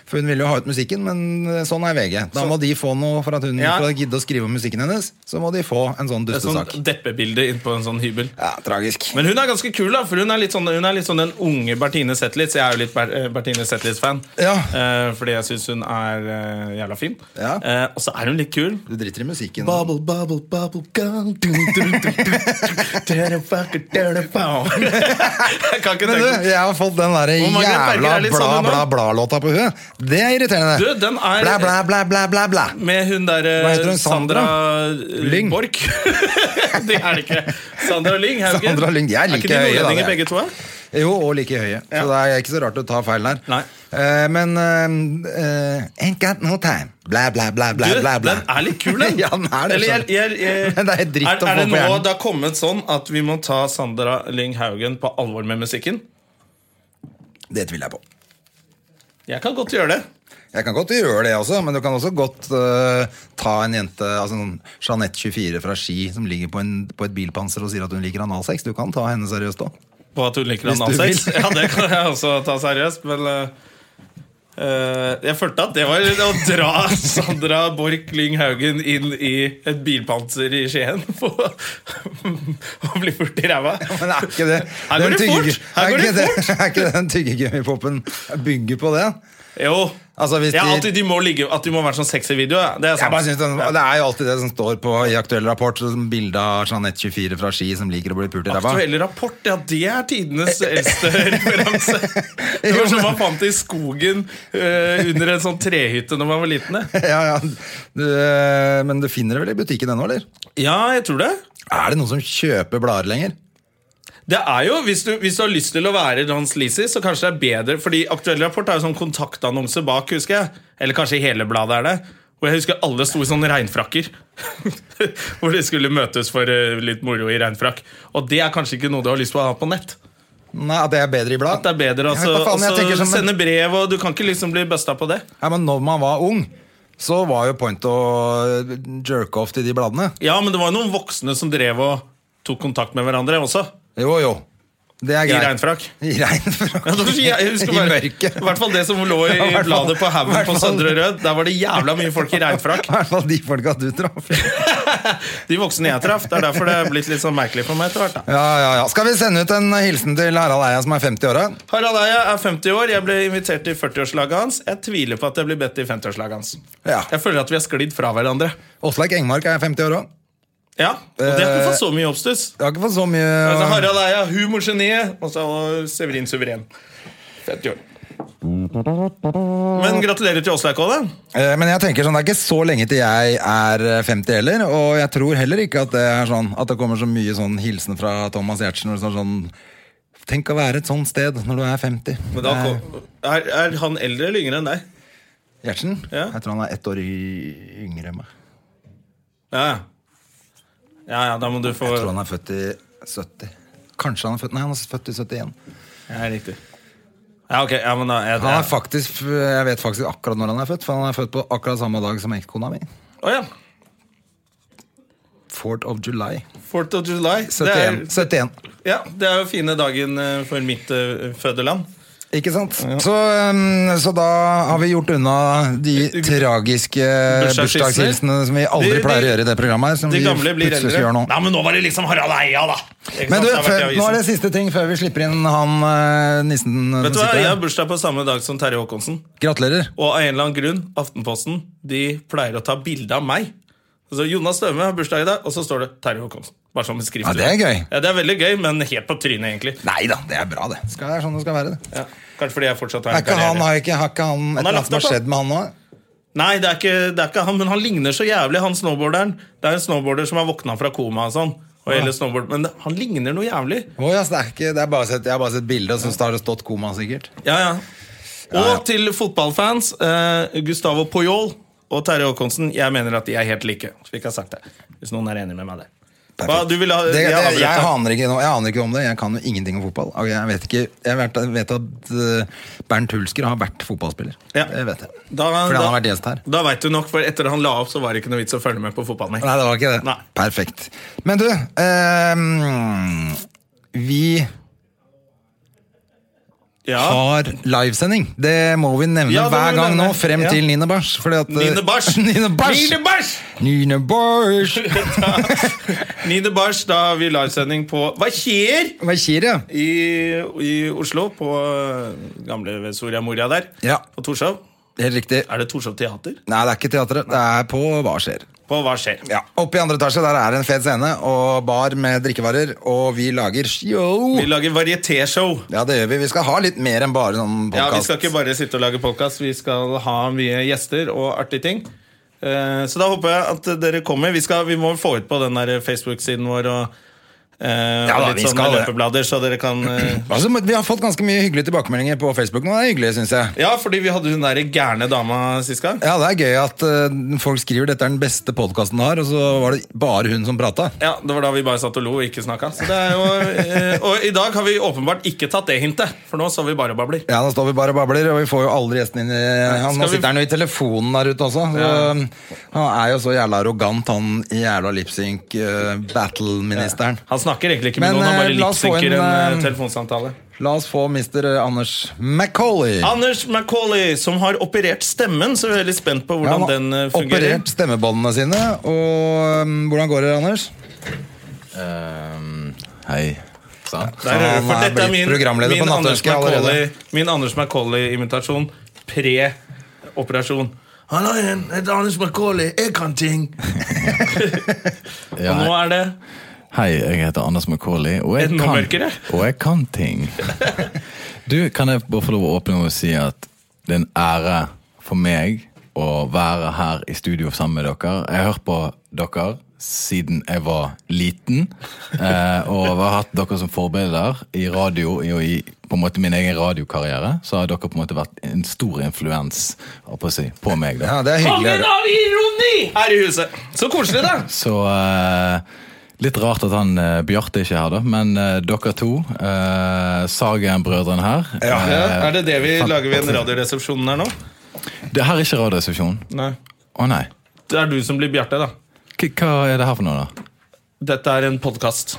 Speaker 2: For hun ville jo ha ut musikken, men sånn er VG. Da må de få noe for at hun
Speaker 1: Ja.
Speaker 2: for å gidde å skrive om musikken hennes. Så må de få en sånn
Speaker 1: Et sånt
Speaker 2: dustesak.
Speaker 1: deppebilde inn på en sånn hybel.
Speaker 2: Ja, tragisk.
Speaker 1: Men hun er ganske kul, da, for hun er litt sånn, hun er litt sånn den unge Bertine Zetlitz. Jeg er jo litt Ber eh, Bertine Zetlitz-fan,
Speaker 2: Ja.
Speaker 1: eh, fordi jeg syns hun er eh, jævla fin.
Speaker 2: Ja.
Speaker 1: Eh, og så er hun litt kul. [LAUGHS]
Speaker 2: Du driter i musikken.
Speaker 1: Bubble, bubble, bubble gum Du, du, du, du, du. Dada, fucker, dada, pow. Jeg kan ikke
Speaker 2: Men du,
Speaker 1: tenke
Speaker 2: jeg har fått den der
Speaker 1: Hvor mange
Speaker 2: jævla
Speaker 1: berger er litt sånn nå?
Speaker 2: bla-bla-bla-låta på huet. Det er irriterende.
Speaker 1: Du, den er-
Speaker 2: Bla, bla, bla, bla, bla, bla.
Speaker 1: Med hun
Speaker 2: Hva heter
Speaker 1: derre
Speaker 2: hun?
Speaker 1: Sandra,
Speaker 2: Lyng?
Speaker 1: Borch. [LAUGHS] det er det ikke. Sandra Lyng. er det ikke?
Speaker 2: Sandra Lyng, de er like
Speaker 1: ikke de
Speaker 2: høye, da,
Speaker 1: nordlendinger,
Speaker 2: det er.
Speaker 1: begge to? er?
Speaker 2: Jo, og like høye. Så det er ikke så rart du tar feil der.
Speaker 1: Nei.
Speaker 2: Eh, men eh, eh, Ain't got no time. Bla, bla, bla, bla,
Speaker 1: Du,
Speaker 2: bla. bla.
Speaker 1: Den er litt kul, den.
Speaker 2: [LAUGHS] ja, den er det.
Speaker 1: Eller, jeg,
Speaker 2: skjønner.
Speaker 1: jeg, jeg,
Speaker 2: Men [LAUGHS] det er dritt
Speaker 1: er,
Speaker 2: å
Speaker 1: er
Speaker 2: få
Speaker 1: det
Speaker 2: på
Speaker 1: nå
Speaker 2: hjernen.
Speaker 1: det har kommet sånn at vi må ta Sandra Lyng Haugen på alvor med musikken?
Speaker 2: Det tviler jeg på.
Speaker 1: Jeg kan godt gjøre det.
Speaker 2: Jeg kan godt gjøre det også, men du kan også godt eh, ta en jente, altså sånn Jeanette 24 fra Ski, som ligger på, en, på et bilpanser og sier at hun liker analsex. Du kan ta henne seriøst òg.
Speaker 1: På at hun liker
Speaker 2: Hvis du
Speaker 1: analsex.
Speaker 2: vil.
Speaker 1: [LAUGHS] Ja, det kan jeg også ta seriøst, men eh, eh, jeg følte at det var å dra [LAUGHS] Sandra Borch Lyng Haugen inn i et bilpanser i Skien [LAUGHS] for å bli furt i ræva.
Speaker 2: [LAUGHS] Men er ikke det
Speaker 1: Her går
Speaker 2: den
Speaker 1: det
Speaker 2: tygge-
Speaker 1: fort! Her
Speaker 2: er
Speaker 1: går
Speaker 2: ikke
Speaker 1: det fort!
Speaker 2: [LAUGHS] Er ikke den tyggegummipopen bygger på det?
Speaker 1: Jo.
Speaker 2: Altså, hvis
Speaker 1: ja,
Speaker 2: de-
Speaker 1: at de, de må ligge At de må være sånn sexy video, ja. det er
Speaker 2: Jeg
Speaker 1: sant.
Speaker 2: bare synes den, Det er jo alltid det som står på i aktuell rapport, som bilde av Jeanette 24 fra Ski som liker å bli pult i ræva.
Speaker 1: Aktuelle rapport, ja, det er
Speaker 2: [LAUGHS]
Speaker 1: tidenes eldste referanse. Det var som man fant i skogen eh, under en sånn trehytte når man var liten. det.
Speaker 2: Ja, ja. Du, eh, men du finner det vel i butikken ennå, eller?
Speaker 1: Ja, jeg tror det.
Speaker 2: Er det noen som kjøper blader lenger?
Speaker 1: Det er jo, Hvis du, hvis du har lyst til å være John Sleazy, så kanskje det er bedre. Fordi Aktuell rapport er jo sånn kontaktannonse bak, husker jeg. Eller kanskje i hele bladet er det. Og jeg husker alle sto i sånne regnfrakker. [LAUGHS] Hvor de skulle møtes for eh, litt moro i regnfrakk. Og det er kanskje ikke noe du har lyst til å ha på nett.
Speaker 2: Nei, At det er bedre i blad?
Speaker 1: Det er bedre altså,
Speaker 2: Jeg vet hva faen, jeg tenker
Speaker 1: å
Speaker 2: som en-
Speaker 1: sende brev, og du kan ikke liksom bli busta på det.
Speaker 2: Ja, men når man var ung, så var jo point å jerke off til de bladene.
Speaker 1: Ja, men det var jo noen voksne som drev og tok kontakt med hverandre også.
Speaker 2: Jo, jo. Det er
Speaker 1: I
Speaker 2: greit.
Speaker 1: regnfrakk.
Speaker 2: I regnfrakk.
Speaker 1: [LAUGHS] Ja, det var så- jeg husker
Speaker 2: I
Speaker 1: bare-
Speaker 2: mørket.
Speaker 1: I hvert fall det som lå
Speaker 2: [LAUGHS] Ja,
Speaker 1: i
Speaker 2: i hvert fall-
Speaker 1: bladet på haugen
Speaker 2: hvert
Speaker 1: på
Speaker 2: fall-
Speaker 1: Søndre Rød. Der var det jævla mye folk i regnfrakk.
Speaker 2: [LAUGHS] I hvert fall de folka du traff.
Speaker 1: De voksne jeg traff. Det er derfor det er blitt litt sånn merkelig for meg etter hvert. da
Speaker 2: Ja, ja, ja. Skal vi sende ut en hilsen til Harald Eia som er 50 åra?
Speaker 1: Harald Eia er 50 år. Jeg ble invitert til 40-årslaget hans. Jeg tviler på at jeg blir bedt til 50-årslaget hans.
Speaker 2: Ja.
Speaker 1: Jeg føler at vi har sklidd fra hverandre.
Speaker 2: Åslaug Engmark er 50 år òg.
Speaker 1: Ja, Og det har ikke
Speaker 2: Eh,
Speaker 1: fått så mye oppstuss.
Speaker 2: Jeg har ikke fått så mye
Speaker 1: Altså, Harald Eia, humorgeniet, og så Severin Suveren. Fett gjort. Men gratulerer til Åslaug òg, da.
Speaker 2: Eh, Men jeg tenker sånn, det er ikke så lenge til jeg er eh, 50 heller, og jeg tror heller ikke at det er sånn At det kommer så mye sånn hilsen fra Thomas Giertsen. hvor det står sånn, Tenk å være et sånt sted når du er 50.
Speaker 1: Men da
Speaker 2: Eh,
Speaker 1: kom, er, er han eldre eller yngre enn deg?
Speaker 2: Gjertsen?
Speaker 1: Ja.
Speaker 2: Eh, Jeg tror han er ett år y- yngre enn meg.
Speaker 1: Ja, ja. ja, ja da må du få
Speaker 2: Jeg tror han er født i 70. Kanskje han er født Nei, han er født i 71.
Speaker 1: Ja, riktig. Ja, ok. Ja, men da, jeg,
Speaker 2: Han er faktisk, Jeg vet faktisk akkurat når han er født, for han er født på akkurat samme dag som ekskona mi.
Speaker 1: Å ja.
Speaker 2: 4th of July.
Speaker 1: 4th of July. Det er,
Speaker 2: 71. 71.
Speaker 1: ja, det er jo fine dagen eh, for mitt eh, fødeland.
Speaker 2: Ikke sant? Så, um, så da har vi gjort unna de tragiske bursdagshilsene som vi aldri
Speaker 1: Eh, De- de-
Speaker 2: pleier å gjøre i det programmet. her, Som
Speaker 1: De
Speaker 2: vi
Speaker 1: gamle blir
Speaker 2: plutselig
Speaker 1: eldre.
Speaker 2: gjør nå.
Speaker 1: Nei, men nå var det liksom Harald Eia, da!
Speaker 2: Men
Speaker 1: Ikke sant?
Speaker 2: du,
Speaker 1: Det har vært i
Speaker 2: før, nå
Speaker 1: avisen.
Speaker 2: er det siste ting før vi slipper inn han eh, nissen som
Speaker 1: Vet du hva,
Speaker 2: sitter
Speaker 1: Jeg
Speaker 2: her.
Speaker 1: har bursdag på samme dag som Terje Håkonsen.
Speaker 2: Gratulerer.
Speaker 1: Og av en eller annen grunn, Aftenposten de pleier å ta bilde av meg. Altså, Jonas Støme har bursdag i dag, og så står det Terje Håkonsen. Bare sånn som en skrift.
Speaker 2: Ja, det er gøy.
Speaker 1: Ja, det er veldig gøy, men helt på trynet, egentlig.
Speaker 2: Nei da, det er bra, det. Skal, det er sånn det skal være. det.
Speaker 1: Ja. Kanskje fordi jeg fortsatt har
Speaker 2: Er
Speaker 1: en
Speaker 2: ikke han,
Speaker 1: karriere.
Speaker 2: har ikke, har ikke han, et
Speaker 1: har
Speaker 2: eller
Speaker 1: lagt
Speaker 2: annet som har
Speaker 1: opp, da.
Speaker 2: skjedd med han nå?
Speaker 1: Nei, det er, ikke, det er ikke han, men han ligner så jævlig, han snowboarderen. Det er en snowboarder som har våkna fra koma og sånn. Og hele snowboard, men det, han ligner noe jævlig.
Speaker 2: Å, ja, så det er ikke, det er bare sett, jeg har bare sett bilder, og så har det stått koma, sikkert.
Speaker 1: Ja, ja. Og til fotballfans, eh, Gustavo Poyol og Terje Håkonsen, jeg mener at de er helt like. Så vi ikke har sagt det, hvis noen er enig med meg der. Hva, du ville ha,
Speaker 2: Det, det,
Speaker 1: jeg
Speaker 2: jeg,
Speaker 1: avbrøt deg.
Speaker 2: aner ikke, noe- jeg aner ikke om det. Jeg kan jo ingenting om fotball. Og Jeg vet, ikke, jeg vet, vet at eh, Bernt Hulsker har vært fotballspiller.
Speaker 1: Ja.
Speaker 2: Det vet jeg.
Speaker 1: Da,
Speaker 2: Fordi han
Speaker 1: da-
Speaker 2: har vært gjest her.
Speaker 1: Da veit du nok, for etter han la opp, så var det ikke noe vits å følge med på
Speaker 2: Nei,
Speaker 1: fotballen.
Speaker 2: det var ikke det.
Speaker 1: Nei.
Speaker 2: Perfekt. Men du ehm, Vi
Speaker 1: Ja.
Speaker 2: har livesending. Det må vi nevne
Speaker 1: Ja, det må
Speaker 2: hver
Speaker 1: vi
Speaker 2: gang
Speaker 1: nevne.
Speaker 2: nå, frem
Speaker 1: Ja.
Speaker 2: til Nine Bars. fordi at- eh,
Speaker 1: Nine
Speaker 2: [LAUGHS]
Speaker 1: Bars!
Speaker 2: Nine Bars!
Speaker 1: Nine Bars!
Speaker 2: Nine Bars!
Speaker 1: [LAUGHS] Nine Bars, da har vi livesending på Hva skjer?
Speaker 2: Hva skjer, ja?
Speaker 1: I, I Oslo, på eh, gamle ved Soria Moria der.
Speaker 2: Ja.
Speaker 1: På Torshov.
Speaker 2: Helt riktig.
Speaker 1: Er det Torshov Teater?
Speaker 2: Nei, det er ikke teatret. Det er på Hva skjer.
Speaker 1: På Hva skjer?
Speaker 2: Ja, Oppe i andre etasje der er det en fet scene og bar med drikkevarer, og vi lager show.
Speaker 1: Vi lager varietéshow.
Speaker 2: Ja, det gjør vi. Vi skal ha litt mer enn bare sånn
Speaker 1: Ja, vi
Speaker 2: podkast.
Speaker 1: skal ikke bare sitte og lage podkast, vi skal ha mye gjester og artige ting. Eh, Så da håper jeg at dere kommer. Vi, skal, vi må få ut på den der Facebook-siden vår og, eh,
Speaker 2: Ja da,
Speaker 1: og litt
Speaker 2: vi
Speaker 1: sånne
Speaker 2: skal det.
Speaker 1: løpeblader, så dere kan
Speaker 2: [CLEARS THROAT]
Speaker 1: eh,
Speaker 2: altså, vi har fått ganske mye hyggelige tilbakemeldinger på Facebook nå. Det er hyggelig, syns jeg.
Speaker 1: Ja, fordi vi hadde hun der gærne dama sist gang.
Speaker 2: Ja, Det er gøy at eh, folk skriver 'dette er den beste podkasten du har', og så var det bare hun som prata.
Speaker 1: Ja, Det var da vi bare satt og lo og ikke snakka. Så det er jo, eh, og i dag har vi åpenbart ikke tatt det hintet, for nå så vi bare og babler.
Speaker 2: Ja, nå står vi bare og babler, og vi får jo aldri gjestene inn i ja, Nå
Speaker 1: Skal vi-
Speaker 2: sitter han jo i telefonen der ute også. Så, eh, Han er jo så jævla arrogant, han jævla eh, lipsync-battle-ministeren.
Speaker 1: Han snakker egentlig ikke
Speaker 2: Men,
Speaker 1: med noen, han
Speaker 2: eh,
Speaker 1: bare
Speaker 2: la oss få en,
Speaker 1: lipsynker en, eh,
Speaker 2: eh,
Speaker 1: telefonsamtale.
Speaker 2: La oss få mister eh, Anders Macauley.
Speaker 1: Anders Macauley, som har operert stemmen, så vi er veldig spent på hvordan
Speaker 2: han har
Speaker 1: den eh, fungerer.
Speaker 2: Operert stemmebåndene sine. Og um, hvordan går det, Anders?
Speaker 3: Eh, Hei. Sa
Speaker 1: Der hører du,
Speaker 2: Han
Speaker 1: for
Speaker 2: er
Speaker 1: dette er
Speaker 2: blitt
Speaker 1: min,
Speaker 2: programleder på
Speaker 1: min, Anders
Speaker 2: Nattønsket allerede.
Speaker 1: Macaulay- min Anders Macaulay-imitasjon pre-operasjon.
Speaker 4: Han er en, et Anders McCauley. Jeg kan ting.
Speaker 3: Ja,
Speaker 1: Og nå er det
Speaker 3: Hei, jeg heter Anders Macauley, og jeg,
Speaker 1: Er det noe
Speaker 3: kan,
Speaker 1: mørkere?
Speaker 3: og jeg kan ting.
Speaker 1: [LAUGHS]
Speaker 3: Du, kan jeg bare få lov å åpne og si at det er en ære for meg å være her i studio sammen med dere. Jeg har hørt på dere siden jeg var
Speaker 1: [LAUGHS]
Speaker 3: liten, eh, og jeg har hatt dere som forbilder i radio i- og i på en måte min egen radiokarriere. Så har dere på en måte vært en stor influens holdt på, å si, på meg. da.
Speaker 2: Ja, det er hyggelig. å
Speaker 1: Kongen
Speaker 2: høre.
Speaker 1: av ironi her i huset! Så koselig, da!
Speaker 3: Så eh, litt rart at han eh, Bjarte ikke er her, da. Men eh, dere to, uh, Sagen-brødrene her
Speaker 1: Ja,
Speaker 3: eh,
Speaker 1: er det det vi lager ved en radioresepsjon her nå?
Speaker 3: Det her er ikke Radioresepsjonen.
Speaker 1: Nei.
Speaker 3: Å nei.
Speaker 1: Det er du som blir Bjarte, da.
Speaker 3: K hva er det her for noe, da?
Speaker 1: Dette er en podkast.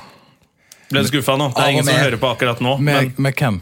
Speaker 1: Ble skuffa nå. Det
Speaker 2: Av
Speaker 1: er
Speaker 2: og
Speaker 1: ingen som
Speaker 2: med.
Speaker 1: hører på akkurat nå. Men
Speaker 3: Med, med hvem?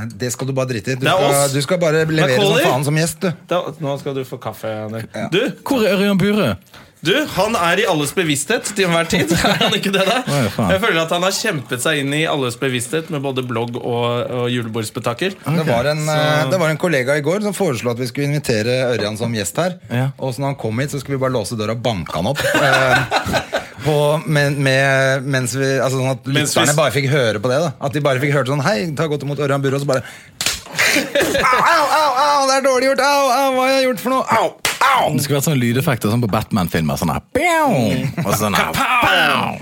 Speaker 2: Nei, Det skal du bare drite i. Du,
Speaker 1: Det er
Speaker 2: skal-
Speaker 1: oss.
Speaker 2: du skal bare levere
Speaker 1: Macaulay?
Speaker 2: som faen som gjest, du.
Speaker 1: da, nå skal du få kaffe. Henrik. Du,
Speaker 3: Hvor er Ørjan Burøe?
Speaker 1: Du, han er i alles bevissthet til enhver tid. [LAUGHS] Er han ikke det, da?
Speaker 3: Nei, faen.
Speaker 1: Jeg føler at han har kjempet seg inn i alles bevissthet med både blogg og, og julebordspettaker.
Speaker 2: Det, var en, eh, det var en kollega i går som foreslo at vi skulle invitere Ørjan som gjest her.
Speaker 3: Ja.
Speaker 2: Og så når han kom hit, så skulle vi bare låse døra og banke han opp. eh, På, med, med, mens vi, altså sånn at
Speaker 1: Mens vi-
Speaker 2: lytterne bare fikk høre på det. da At de bare fikk høre sånn Hei, ta godt imot Ørjan Burå. Og så bare Au, au, au! Det er dårlig gjort! Au, au! Hva har jeg gjort for noe? Au! Au!
Speaker 3: Det skulle vært sånne lydeffekter sånn på Batman-filmer. Sånn her «Bjau!» Og sånn her «Bjau!»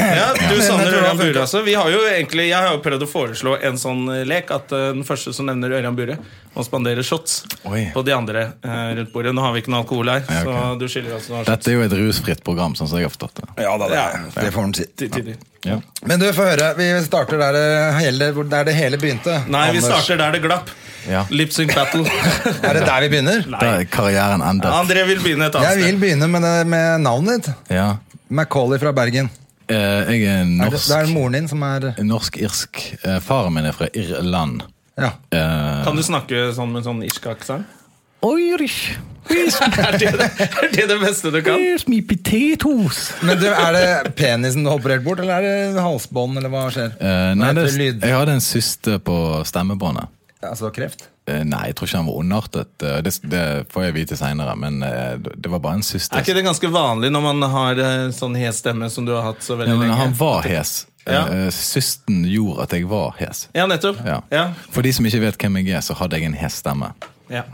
Speaker 1: Ja, du
Speaker 2: jeg
Speaker 1: savner
Speaker 2: tror
Speaker 1: Ørjan
Speaker 2: han funker.
Speaker 1: Bure også. Vi har jo egentlig, jeg har jo prøvd å foreslå en sånn eh, lek at eh, den første som nevner Ørjan Bure, må spandere shots
Speaker 3: Oi.
Speaker 1: på de andre eh, rundt bordet. Nå har vi ikke noe alkohol her,
Speaker 3: Ja, ok.
Speaker 1: så du skylder oss noen shots.
Speaker 3: Dette er jo et rusfritt program, sånn som jeg har forstått det.
Speaker 2: Ja da, det, det får han si.
Speaker 1: til tider.
Speaker 3: Ja.
Speaker 2: Men du, få høre. Vi starter der det hele, hvor- der det hele begynte.
Speaker 1: Nei, vi
Speaker 2: Anders.
Speaker 1: starter der det glapp.
Speaker 3: Ja.
Speaker 1: Lip sync battle.
Speaker 2: Er det der vi begynner?
Speaker 3: Der er karrieren endet.
Speaker 1: André vil begynne et
Speaker 2: Jeg vil
Speaker 1: annet sted.
Speaker 2: begynne med, det, med navnet ditt.
Speaker 3: Ja.
Speaker 2: Macauley fra Bergen.
Speaker 3: Eh, jeg er
Speaker 2: Er det, det er
Speaker 3: norsk.
Speaker 2: moren din som er
Speaker 3: Norsk-irsk. Eh, faren min er fra Irland.
Speaker 2: Ja.
Speaker 3: Eh,
Speaker 1: Kan du snakke sånn med en sånn irsk aksent?
Speaker 3: Irish.
Speaker 1: [LAUGHS] er, det det, er det det beste du kan?
Speaker 3: Here's me potatoes.
Speaker 2: Men du, Er det penisen du har operert bort, eller er det halsbånd, eller hva skjer?
Speaker 3: Eh,
Speaker 2: Hva
Speaker 3: nei,
Speaker 2: heter
Speaker 3: det,
Speaker 2: lyd?
Speaker 3: jeg hadde en syste på stemmebåndet.
Speaker 2: Altså kreft?
Speaker 3: Eh, nei, jeg tror ikke han var ondartet. Eh, det, det får jeg vite seinere, men eh, det var bare en syste.
Speaker 1: Er ikke det ganske vanlig når man har eh, sånn hes stemme som du har hatt så veldig
Speaker 3: ja, men
Speaker 1: lenge?
Speaker 3: han var hes.
Speaker 1: Ja.
Speaker 3: Eh, systen gjorde at jeg var hes.
Speaker 1: Ja, nettopp.
Speaker 3: Ja.
Speaker 1: Ja.
Speaker 3: For de som ikke vet hvem jeg er, så hadde jeg en hes stemme.
Speaker 1: Ja.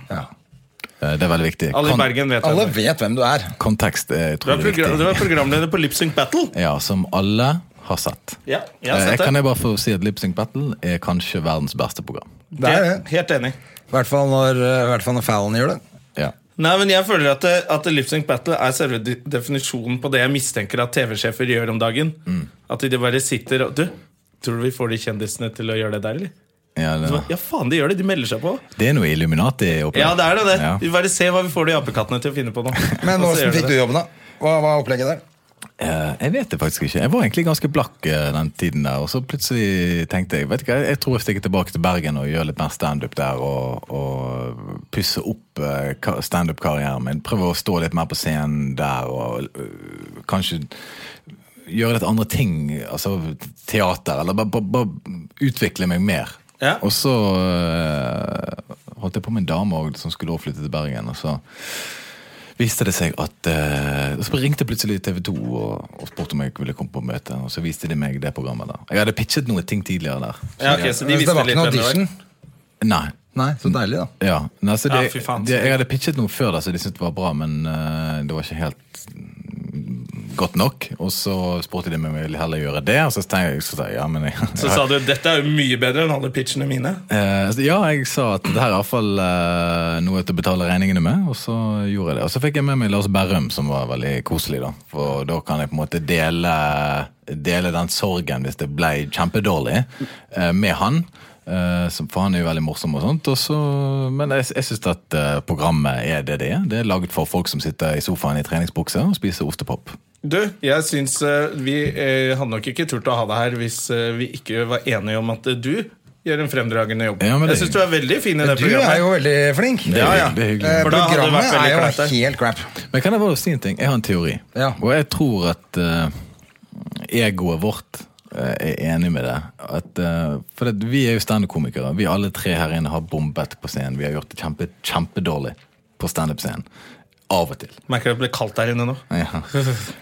Speaker 3: Eh, det er veldig viktig.
Speaker 1: Alle
Speaker 3: Kon-
Speaker 1: i Bergen vet
Speaker 2: Alle
Speaker 1: det.
Speaker 2: vet hvem du er.
Speaker 3: Kontekst er
Speaker 1: Du er,
Speaker 3: utrolig
Speaker 1: progra-
Speaker 3: viktig.
Speaker 1: du er programleder på Lipsync Battle.
Speaker 3: Ja, som alle har sett.
Speaker 1: Ja, jeg
Speaker 3: Eh,
Speaker 1: har sett
Speaker 3: kan
Speaker 1: det.
Speaker 3: jeg bare få si at Lip Sync Battle er kanskje verdens beste program.
Speaker 2: Det er
Speaker 1: Helt-
Speaker 2: det.
Speaker 1: Helt enig.
Speaker 2: I hvert fall når, eh, i hvert fall når Fallon gjør det.
Speaker 3: Ja.
Speaker 1: Nei, men jeg føler at, det- at Lipsync Battle er selve de- definisjonen på det jeg mistenker at TV-sjefer gjør om dagen. At de bare sitter og Du, tror du vi får de kjendisene til å gjøre det der, eller?
Speaker 3: Ja,
Speaker 1: Så,
Speaker 3: det,
Speaker 1: ja, faen, de gjør det. De melder seg på.
Speaker 3: det er noe Illuminati oppi
Speaker 1: Ja, det er det. det. [LAUGHS]
Speaker 3: Ja.
Speaker 1: Vi bare ser hva vi får de apekattene til å finne på nå.
Speaker 2: Men
Speaker 1: Og
Speaker 2: hvordan
Speaker 1: så gjør de
Speaker 2: fikk
Speaker 1: det.
Speaker 2: du jobben, da? Hva hva var opplegget der?
Speaker 3: Eh, Jeg vet det faktisk ikke. Jeg var egentlig ganske blakk eh, den tiden der. Og så plutselig tenkte jeg vet du hva, jeg tror jeg stikker tilbake til Bergen og gjør litt mer standup der. Og, og pusse opp eh, ka- standup-karrieren min. Prøve å stå litt mer på scenen der. Og øh, kanskje gjøre litt andre ting. Altså teater. Eller bare, bare, bare utvikle meg mer.
Speaker 1: Ja.
Speaker 3: Og så øh, holdt jeg på med en dame også, som skulle også flytte til Bergen. og så viste det seg at eh, Så ringte plutselig TV 2 og, og spurte om jeg ville komme på møte. Og så viste de meg det programmet der. Jeg hadde pitchet noen ting tidligere der.
Speaker 1: Ja, ok, så de
Speaker 2: det
Speaker 1: visste
Speaker 2: var ikke
Speaker 1: litt
Speaker 2: noe
Speaker 1: hvem det var.
Speaker 2: audition.
Speaker 3: Nei.
Speaker 2: Nei, så deilig, da.
Speaker 3: Ja, Nei, altså,
Speaker 1: Ja,
Speaker 3: det-
Speaker 1: fy faen.
Speaker 3: det- Jeg hadde pitchet noe før der som de syntes var bra, men eh, det var ikke helt mm, godt nok. Og så spurte de meg om jeg ville heller gjøre det, og så tenkte jeg, så sa jeg ja, men jeg,
Speaker 1: Så sa du dette er jo mye bedre enn alle pitchene mine.
Speaker 3: Eh, så ja, jeg sa at det her er iallfall eh, noe til å betale regningene med, og så gjorde jeg det. Og så fikk jeg med meg Lars Berrum, som var veldig koselig, da. For da kan jeg på en måte dele, dele den sorgen, hvis det ble kjempedårlig, eh, med han. Eh, som- for han er jo veldig morsom og sånt. Og så, men jeg, jeg syns at eh, programmet er det det er. Det er laget for folk som sitter i sofaen i treningsbukse og spiser ostepop.
Speaker 1: Du, jeg syns eh, vi eh, hadde nok ikke turt å ha deg her hvis eh, vi ikke var enige om at eh, du gjør en fremdragende jobb.
Speaker 3: Ja, men det-
Speaker 1: jeg syns du er veldig fin i
Speaker 2: Du
Speaker 1: det
Speaker 2: er
Speaker 1: programmet.
Speaker 2: jo veldig flink.
Speaker 3: Det er
Speaker 1: Ja, ja.
Speaker 3: hyggelig, Det er hyggelig.
Speaker 2: Eh,
Speaker 1: For da hadde det
Speaker 2: Programmet
Speaker 1: vært
Speaker 2: er
Speaker 1: veldig
Speaker 2: jo
Speaker 1: flaut der.
Speaker 2: helt crap.
Speaker 3: Men kan jeg bare si en ting? Jeg har en teori.
Speaker 2: Ja.
Speaker 3: Og jeg tror at eh, egoet vårt eh, er enig med det. At, eh, for det, vi er jo standup-komikere. Vi alle tre her inne har bombet på scenen. Vi har gjort det kjempe, kjempedårlig på standup-scenen.
Speaker 1: [LAUGHS]
Speaker 3: Av og til.
Speaker 1: Merker at det blir kaldt der inne nå.
Speaker 3: Ja.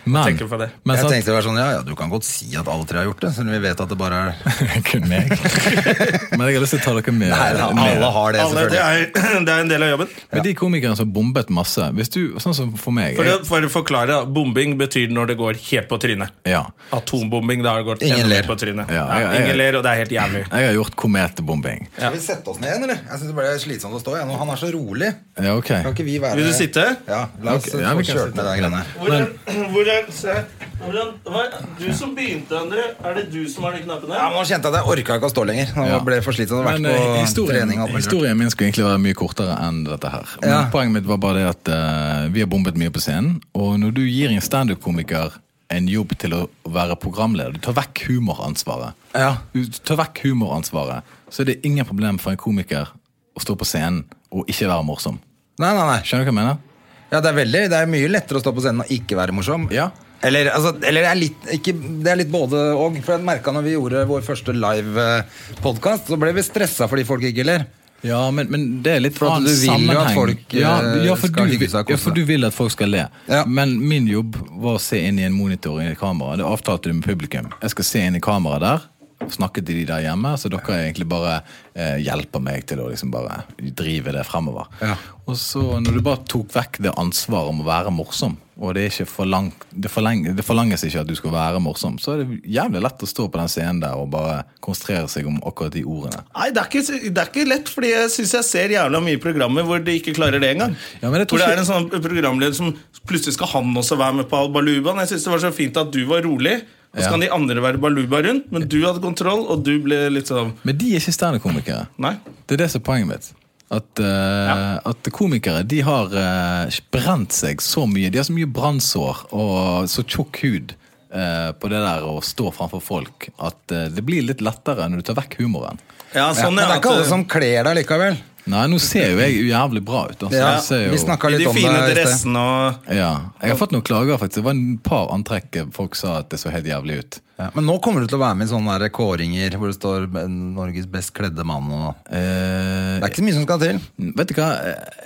Speaker 3: Men,
Speaker 1: tenker på det.
Speaker 3: men
Speaker 2: Jeg
Speaker 3: sant?
Speaker 2: tenkte det var sånn, ja, ja, Du kan godt si at alle tre har gjort det, selv om vi vet at det bare er
Speaker 3: [LAUGHS] Kun meg. Men jeg har lyst til å ta dere med.
Speaker 2: Nei, [LAUGHS] alle har det,
Speaker 1: Alle, det,
Speaker 2: selvfølgelig.
Speaker 1: er, [CLEARS THROAT] det er en del av jobben.
Speaker 3: Men de komikerne som bombet masse hvis du, Sånn som for meg.
Speaker 1: For å,
Speaker 3: jeg,
Speaker 1: for å forklare, da, bombing betyr når det går helt på trynet.
Speaker 3: ja.
Speaker 1: Atombombing, da har det gått
Speaker 2: Ingen
Speaker 1: enda mer
Speaker 2: ler.
Speaker 1: på trynet.
Speaker 3: Ja, ja, ja.
Speaker 1: Ingen ler, og det er helt jævlig.
Speaker 3: jeg har gjort kometbombing.
Speaker 2: Skal vi sette oss ned igjen, eller? Jeg synes det ble slitsomt å stå igjen. og Han er så rolig.
Speaker 3: Ja, ok.
Speaker 2: Kan ikke vi være
Speaker 1: Vil du sitte?
Speaker 2: Ja, la oss
Speaker 3: Ok, ja,
Speaker 2: få
Speaker 3: vi kan
Speaker 2: kjørt
Speaker 3: sitte.
Speaker 2: med den greiene.
Speaker 1: Hvordan, hvordan, se, hvordan hva- Du som begynte, André. Er det du som har de knappene?
Speaker 2: Ja, men Nå kjente jeg at jeg orka ikke å stå lenger. Nå
Speaker 3: Ja.
Speaker 2: ble jeg for slitsom. Jeg har
Speaker 3: Men, eh,
Speaker 2: vært på
Speaker 3: historien,
Speaker 2: trening. og alt mulig.
Speaker 3: historien min skulle egentlig være mye kortere enn dette her. Men
Speaker 2: Ja.
Speaker 3: Poenget mitt var bare det at eh, vi har bombet mye på scenen. Og når du gir en standup-komiker en jobb til å være programleder, du tar vekk humoransvaret,
Speaker 2: Ja.
Speaker 3: Du tar vekk humoransvaret så er det ingen problem for en komiker å stå på scenen og ikke være morsom.
Speaker 2: Nei, nei, nei.
Speaker 3: Skjønner du hva jeg mener?
Speaker 2: Ja, det er, veldig, det er mye lettere å stå på scenen og ikke være morsom.
Speaker 3: Ja.
Speaker 2: Eller, altså, eller det, er litt, ikke, det er litt både og. For jeg merka når vi gjorde vår første live-podkast, så ble vi stressa fordi folk ikke ler.
Speaker 3: Ja, men, men det er litt
Speaker 2: For at
Speaker 3: annen
Speaker 2: du vil jo at
Speaker 3: sammenheng.
Speaker 2: folk, eh,
Speaker 3: ja, ja, for
Speaker 2: skal
Speaker 3: du,
Speaker 2: hygge seg og kose
Speaker 3: ja, for du vil at folk skal le.
Speaker 2: Ja.
Speaker 3: Men min jobb var å se inn i en monitor i et kamera. Det avtalte du med publikum. Jeg skal se inn i kameraet der. Snakke til de der hjemme, så dere egentlig bare eh, hjelper meg til å liksom bare drive det fremover.
Speaker 2: Ja.
Speaker 3: Og så når du bare tok vekk det ansvaret om å være morsom, og det, er ikke forlang, det, forleng, det forlanges ikke at du skal være morsom, så er det jævlig lett å stå på den scenen der og bare konsentrere seg om akkurat de ordene.
Speaker 1: Nei, det er, ikke, det er ikke lett, fordi jeg syns jeg ser jævla mye programmer hvor de ikke klarer det engang.
Speaker 3: Ja, men jeg tror
Speaker 1: hvor det
Speaker 3: ikke-
Speaker 1: er en sånn programleder som plutselig skal han også være med på Al Baluba. Jeg synes det var så fint at du var rolig, og så
Speaker 3: Ja.
Speaker 1: kan de andre være Baluba rundt, men du hadde kontroll, og du ble litt sånn
Speaker 3: Men de er ikke standup-komikere.
Speaker 1: Nei.
Speaker 3: Det er det som er poenget mitt. At, eh, at komikere de har eh, brent seg så mye. De har så mye brannsår og så tjukk hud eh, på det der å stå framfor folk at eh, det blir litt lettere når du tar vekk humoren.
Speaker 1: Ja,
Speaker 2: Ja,
Speaker 1: sånn
Speaker 2: men det er
Speaker 1: at-
Speaker 2: ikke alle som kler deg likevel.
Speaker 3: Nei, nå ser jo jeg jævlig bra ut. Altså.
Speaker 2: Ja,
Speaker 3: jeg ser
Speaker 2: vi
Speaker 3: jo,
Speaker 2: snakka
Speaker 1: eh, I
Speaker 2: litt
Speaker 1: de
Speaker 2: om
Speaker 1: fine
Speaker 2: det. i sted.
Speaker 1: dressene og
Speaker 3: ja. Jeg har fått noen klager, faktisk. Det var en par antrekk folk sa at det så helt jævlig ut.
Speaker 2: Ja, men nå kommer du til å være med i sånne der kåringer hvor det står eh, 'Norges best kledde mann' og
Speaker 3: Eh,
Speaker 2: Det er ikke så mye som skal til.
Speaker 3: vet du hva,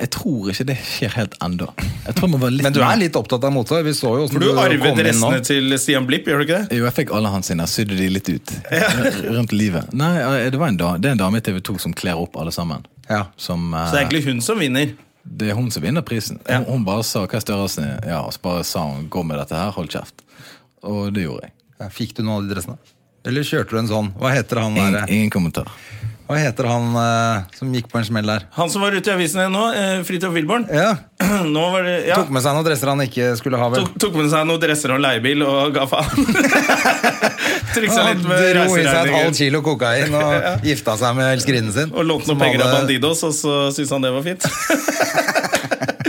Speaker 3: jeg tror ikke det skjer helt ennå. Jeg tror jeg må være litt
Speaker 2: Men du
Speaker 3: mer-
Speaker 2: er litt opptatt av mote. Vi så jo
Speaker 1: For
Speaker 2: åssen
Speaker 1: du arvet
Speaker 2: kom inn nå.
Speaker 1: dressene til Stian Blipp, gjør du ikke det?
Speaker 3: Jo, jeg fikk alle hans sine. Jeg Sydde de litt ut R- [LAUGHS] rundt livet. Nei, eh, det, var en da, det er en dame i TV 2 som kler opp alle sammen.
Speaker 2: Ja.
Speaker 3: Som, eh,
Speaker 1: Så det er egentlig hun som vinner.
Speaker 3: det er hun som vinner prisen.
Speaker 1: Ja.
Speaker 3: Hun, hun bare sa hva er størrelsen er, ja, og så bare sa hun 'gå med dette her, hold kjeft'. Og det gjorde jeg.
Speaker 2: Ja, Fikk du noen av de dressene? Eller kjørte du en sånn? Hva heter han
Speaker 3: Ingen,
Speaker 2: der,
Speaker 3: ingen kommentar.
Speaker 2: Hva heter han eh, som gikk på en smell der?
Speaker 1: Han som var ute i avisene nå, eh, Fridtjof Wilborn, [CLEARS THROAT]
Speaker 2: Ja,
Speaker 1: nå var det, ja,
Speaker 2: Tok med seg noen dresser han ikke skulle ha, vel?
Speaker 1: tok, tok med seg noen dresser og leiebil og ga faen. [LAUGHS] Triksa
Speaker 2: Han
Speaker 1: litt med
Speaker 2: dro i seg et halvt
Speaker 1: reiseregningen.
Speaker 2: kilo kokain
Speaker 1: [LAUGHS]
Speaker 2: og gifta seg med elskerinnen sin.
Speaker 1: Og lånte noen
Speaker 2: Som
Speaker 1: penger av
Speaker 2: hadde-
Speaker 1: Bandidos, og så syntes han det var fint.
Speaker 3: Hva er det,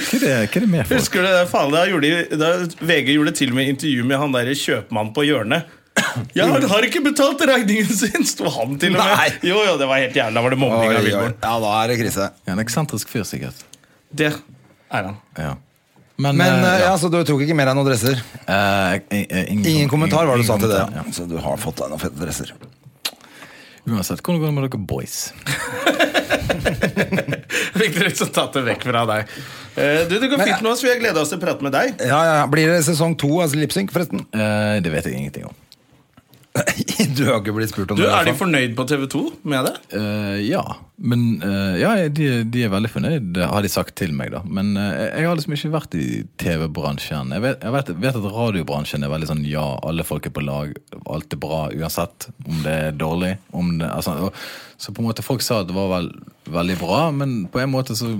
Speaker 3: hva er det med
Speaker 1: [LAUGHS]
Speaker 3: folk?
Speaker 1: Husker du det? Faen, da, gjorde de, da VG gjorde til og med intervju med han derre kjøpmannen på
Speaker 2: [COUGHS]
Speaker 1: hjørnet. Ja, han har ikke betalt regningen sin! Sto han til og med.
Speaker 2: Nei.
Speaker 1: Jo, jo, det var helt jævlig. Da var det
Speaker 2: Oi,
Speaker 1: mobbing av
Speaker 2: oi.
Speaker 1: Vilborg.
Speaker 2: Ja, da er det krise.
Speaker 3: Ja, en eksentrisk fyr, sikkert.
Speaker 1: Det er han.
Speaker 3: Ja. Men,
Speaker 2: Men
Speaker 3: eh,
Speaker 2: eh, ja, så du tok ikke med deg noen dresser?
Speaker 3: Eh, eh, ingen,
Speaker 2: Ingen kommentar var det du sa til det.
Speaker 3: kommentar,
Speaker 2: Så du har fått deg noen fete dresser.
Speaker 3: ja. Uansett, hvordan går det med dere boys?
Speaker 1: Fikk dere liksom tatt det vekk fra deg. Eh, Du, Det går fint med oss. Vi har gleda oss til å prate med deg.
Speaker 2: Ja, ja, Blir det sesong to av Lipsync, forresten? [LAUGHS]
Speaker 3: Eh, det vet jeg ingenting om.
Speaker 2: du har ikke blitt spurt om
Speaker 1: Du,
Speaker 2: det. i hvert
Speaker 1: Er de
Speaker 2: fall.
Speaker 1: fornøyd på TV 2 med det?
Speaker 3: Eh, ja, men eh, ja, de, de er veldig fornøyd, det har de sagt til meg, da. Men eh, jeg har liksom ikke vært i TV-bransjen. Jeg, vet, jeg vet, vet at radiobransjen er veldig sånn ja, alle folk er på lag, alt er bra uansett om det er dårlig. Om det, altså, og, så på en måte folk sa at det var vel, veldig bra, men på en måte så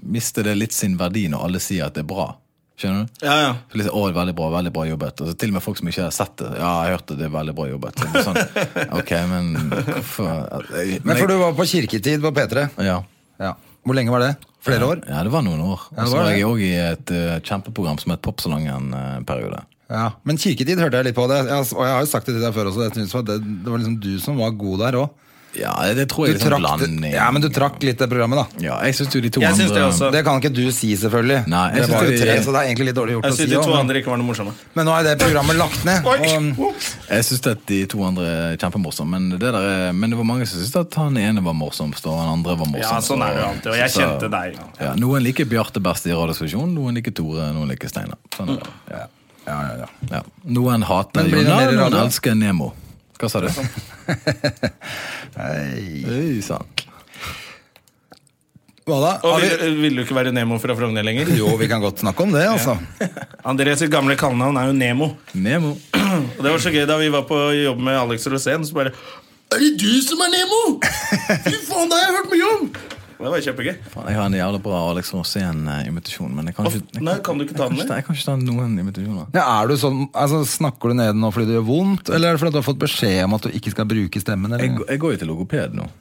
Speaker 3: mister det litt sin verdi når alle sier at det er bra. Skjønner du?
Speaker 1: Ja, ja.
Speaker 3: Så Liksom, å, veldig bra, veldig bra jobbet. Altså, til og med folk som ikke har sett det. Ja, jeg hørte det, veldig bra jobbet. Så det er [LAUGHS] sånn, ok, men hvorfor
Speaker 2: Men for du var på kirketid på P3.
Speaker 3: Ja.
Speaker 2: Ja. Hvor lenge var det? Flere år?
Speaker 3: ja, det var noen år.
Speaker 2: Ja, det
Speaker 3: Og så
Speaker 2: var
Speaker 3: var
Speaker 2: det.
Speaker 3: jeg òg i et eh, kjempeprogram som het Popsalongen en periode.
Speaker 2: Ja. Men kirketid hørte jeg litt på. det jeg, Og jeg har jo sagt det til deg før også. Jeg synes det, det var liksom du som var god der òg.
Speaker 3: Ja, det tror
Speaker 2: Du,
Speaker 3: jeg liksom
Speaker 2: trakk det-
Speaker 3: blanding.
Speaker 2: ja, men du trakk litt det programmet, da.
Speaker 3: Ja, jeg syns jo de to
Speaker 1: Jeg synes
Speaker 3: andre
Speaker 1: det også.
Speaker 2: Det kan ikke du si, selvfølgelig.
Speaker 3: Nei, jeg
Speaker 2: det
Speaker 3: synes
Speaker 2: var jo
Speaker 3: det-
Speaker 2: tre, så det er egentlig litt dårlig gjort
Speaker 1: Jeg
Speaker 2: å si.
Speaker 1: synes de to
Speaker 2: også, men,
Speaker 1: andre ikke var noe morsomme.
Speaker 2: men nå er det programmet lagt ned. Og,
Speaker 1: Oi.
Speaker 3: Jeg synes at de to andre er kjempemorsomme, men det, der er, men det var mange som syntes at han ene var morsomst, og han andre var morsomst.
Speaker 1: Ja, sånn er det jo
Speaker 3: og-
Speaker 1: alltid, og jeg
Speaker 3: så-
Speaker 1: kjente deg.
Speaker 3: Ja, noen liker Bjarte best i Radiostasjonen, noen liker Tore, noen liker Steinar. Sånn er det.
Speaker 1: Mm.
Speaker 3: Ja.
Speaker 2: ja, ja, ja.
Speaker 3: Ja. Noen hater
Speaker 2: Men blir det
Speaker 3: Jonna,
Speaker 2: mer i
Speaker 3: noen
Speaker 2: radio?
Speaker 3: elsker Nemo. Hva sa du? [LAUGHS] Hei sann.
Speaker 2: Hva da?
Speaker 1: Og
Speaker 2: Har
Speaker 1: vil,
Speaker 2: vi,
Speaker 1: vil du ikke være Nemo fra Frogner lenger?
Speaker 2: jo, vi kan godt snakke om det, altså.
Speaker 1: André sitt gamle kallenavn er jo Nemo.
Speaker 3: Nemo.
Speaker 1: Og det var så gøy da vi var på jobb med Alex Rosén, så bare Er det du som er Nemo?! [LAUGHS] Fy faen, det har jeg hørt mye om! Det var kjempegøy.
Speaker 3: Faen, jeg har en jævlig bra Alex Rosén-invitasjon, men jeg kan ikke jeg
Speaker 1: Nei, kan du ikke ta den
Speaker 3: jeg kan
Speaker 1: med?
Speaker 3: Jeg kan ikke ta noen invitasjoner.
Speaker 2: Ja, er du sånn, altså, snakker du ned nå fordi det gjør vondt, eller er det fordi du har fått beskjed om at du ikke skal bruke stemmen?
Speaker 3: Jeg,
Speaker 2: Eller?
Speaker 3: går- jeg går jo til logoped nå.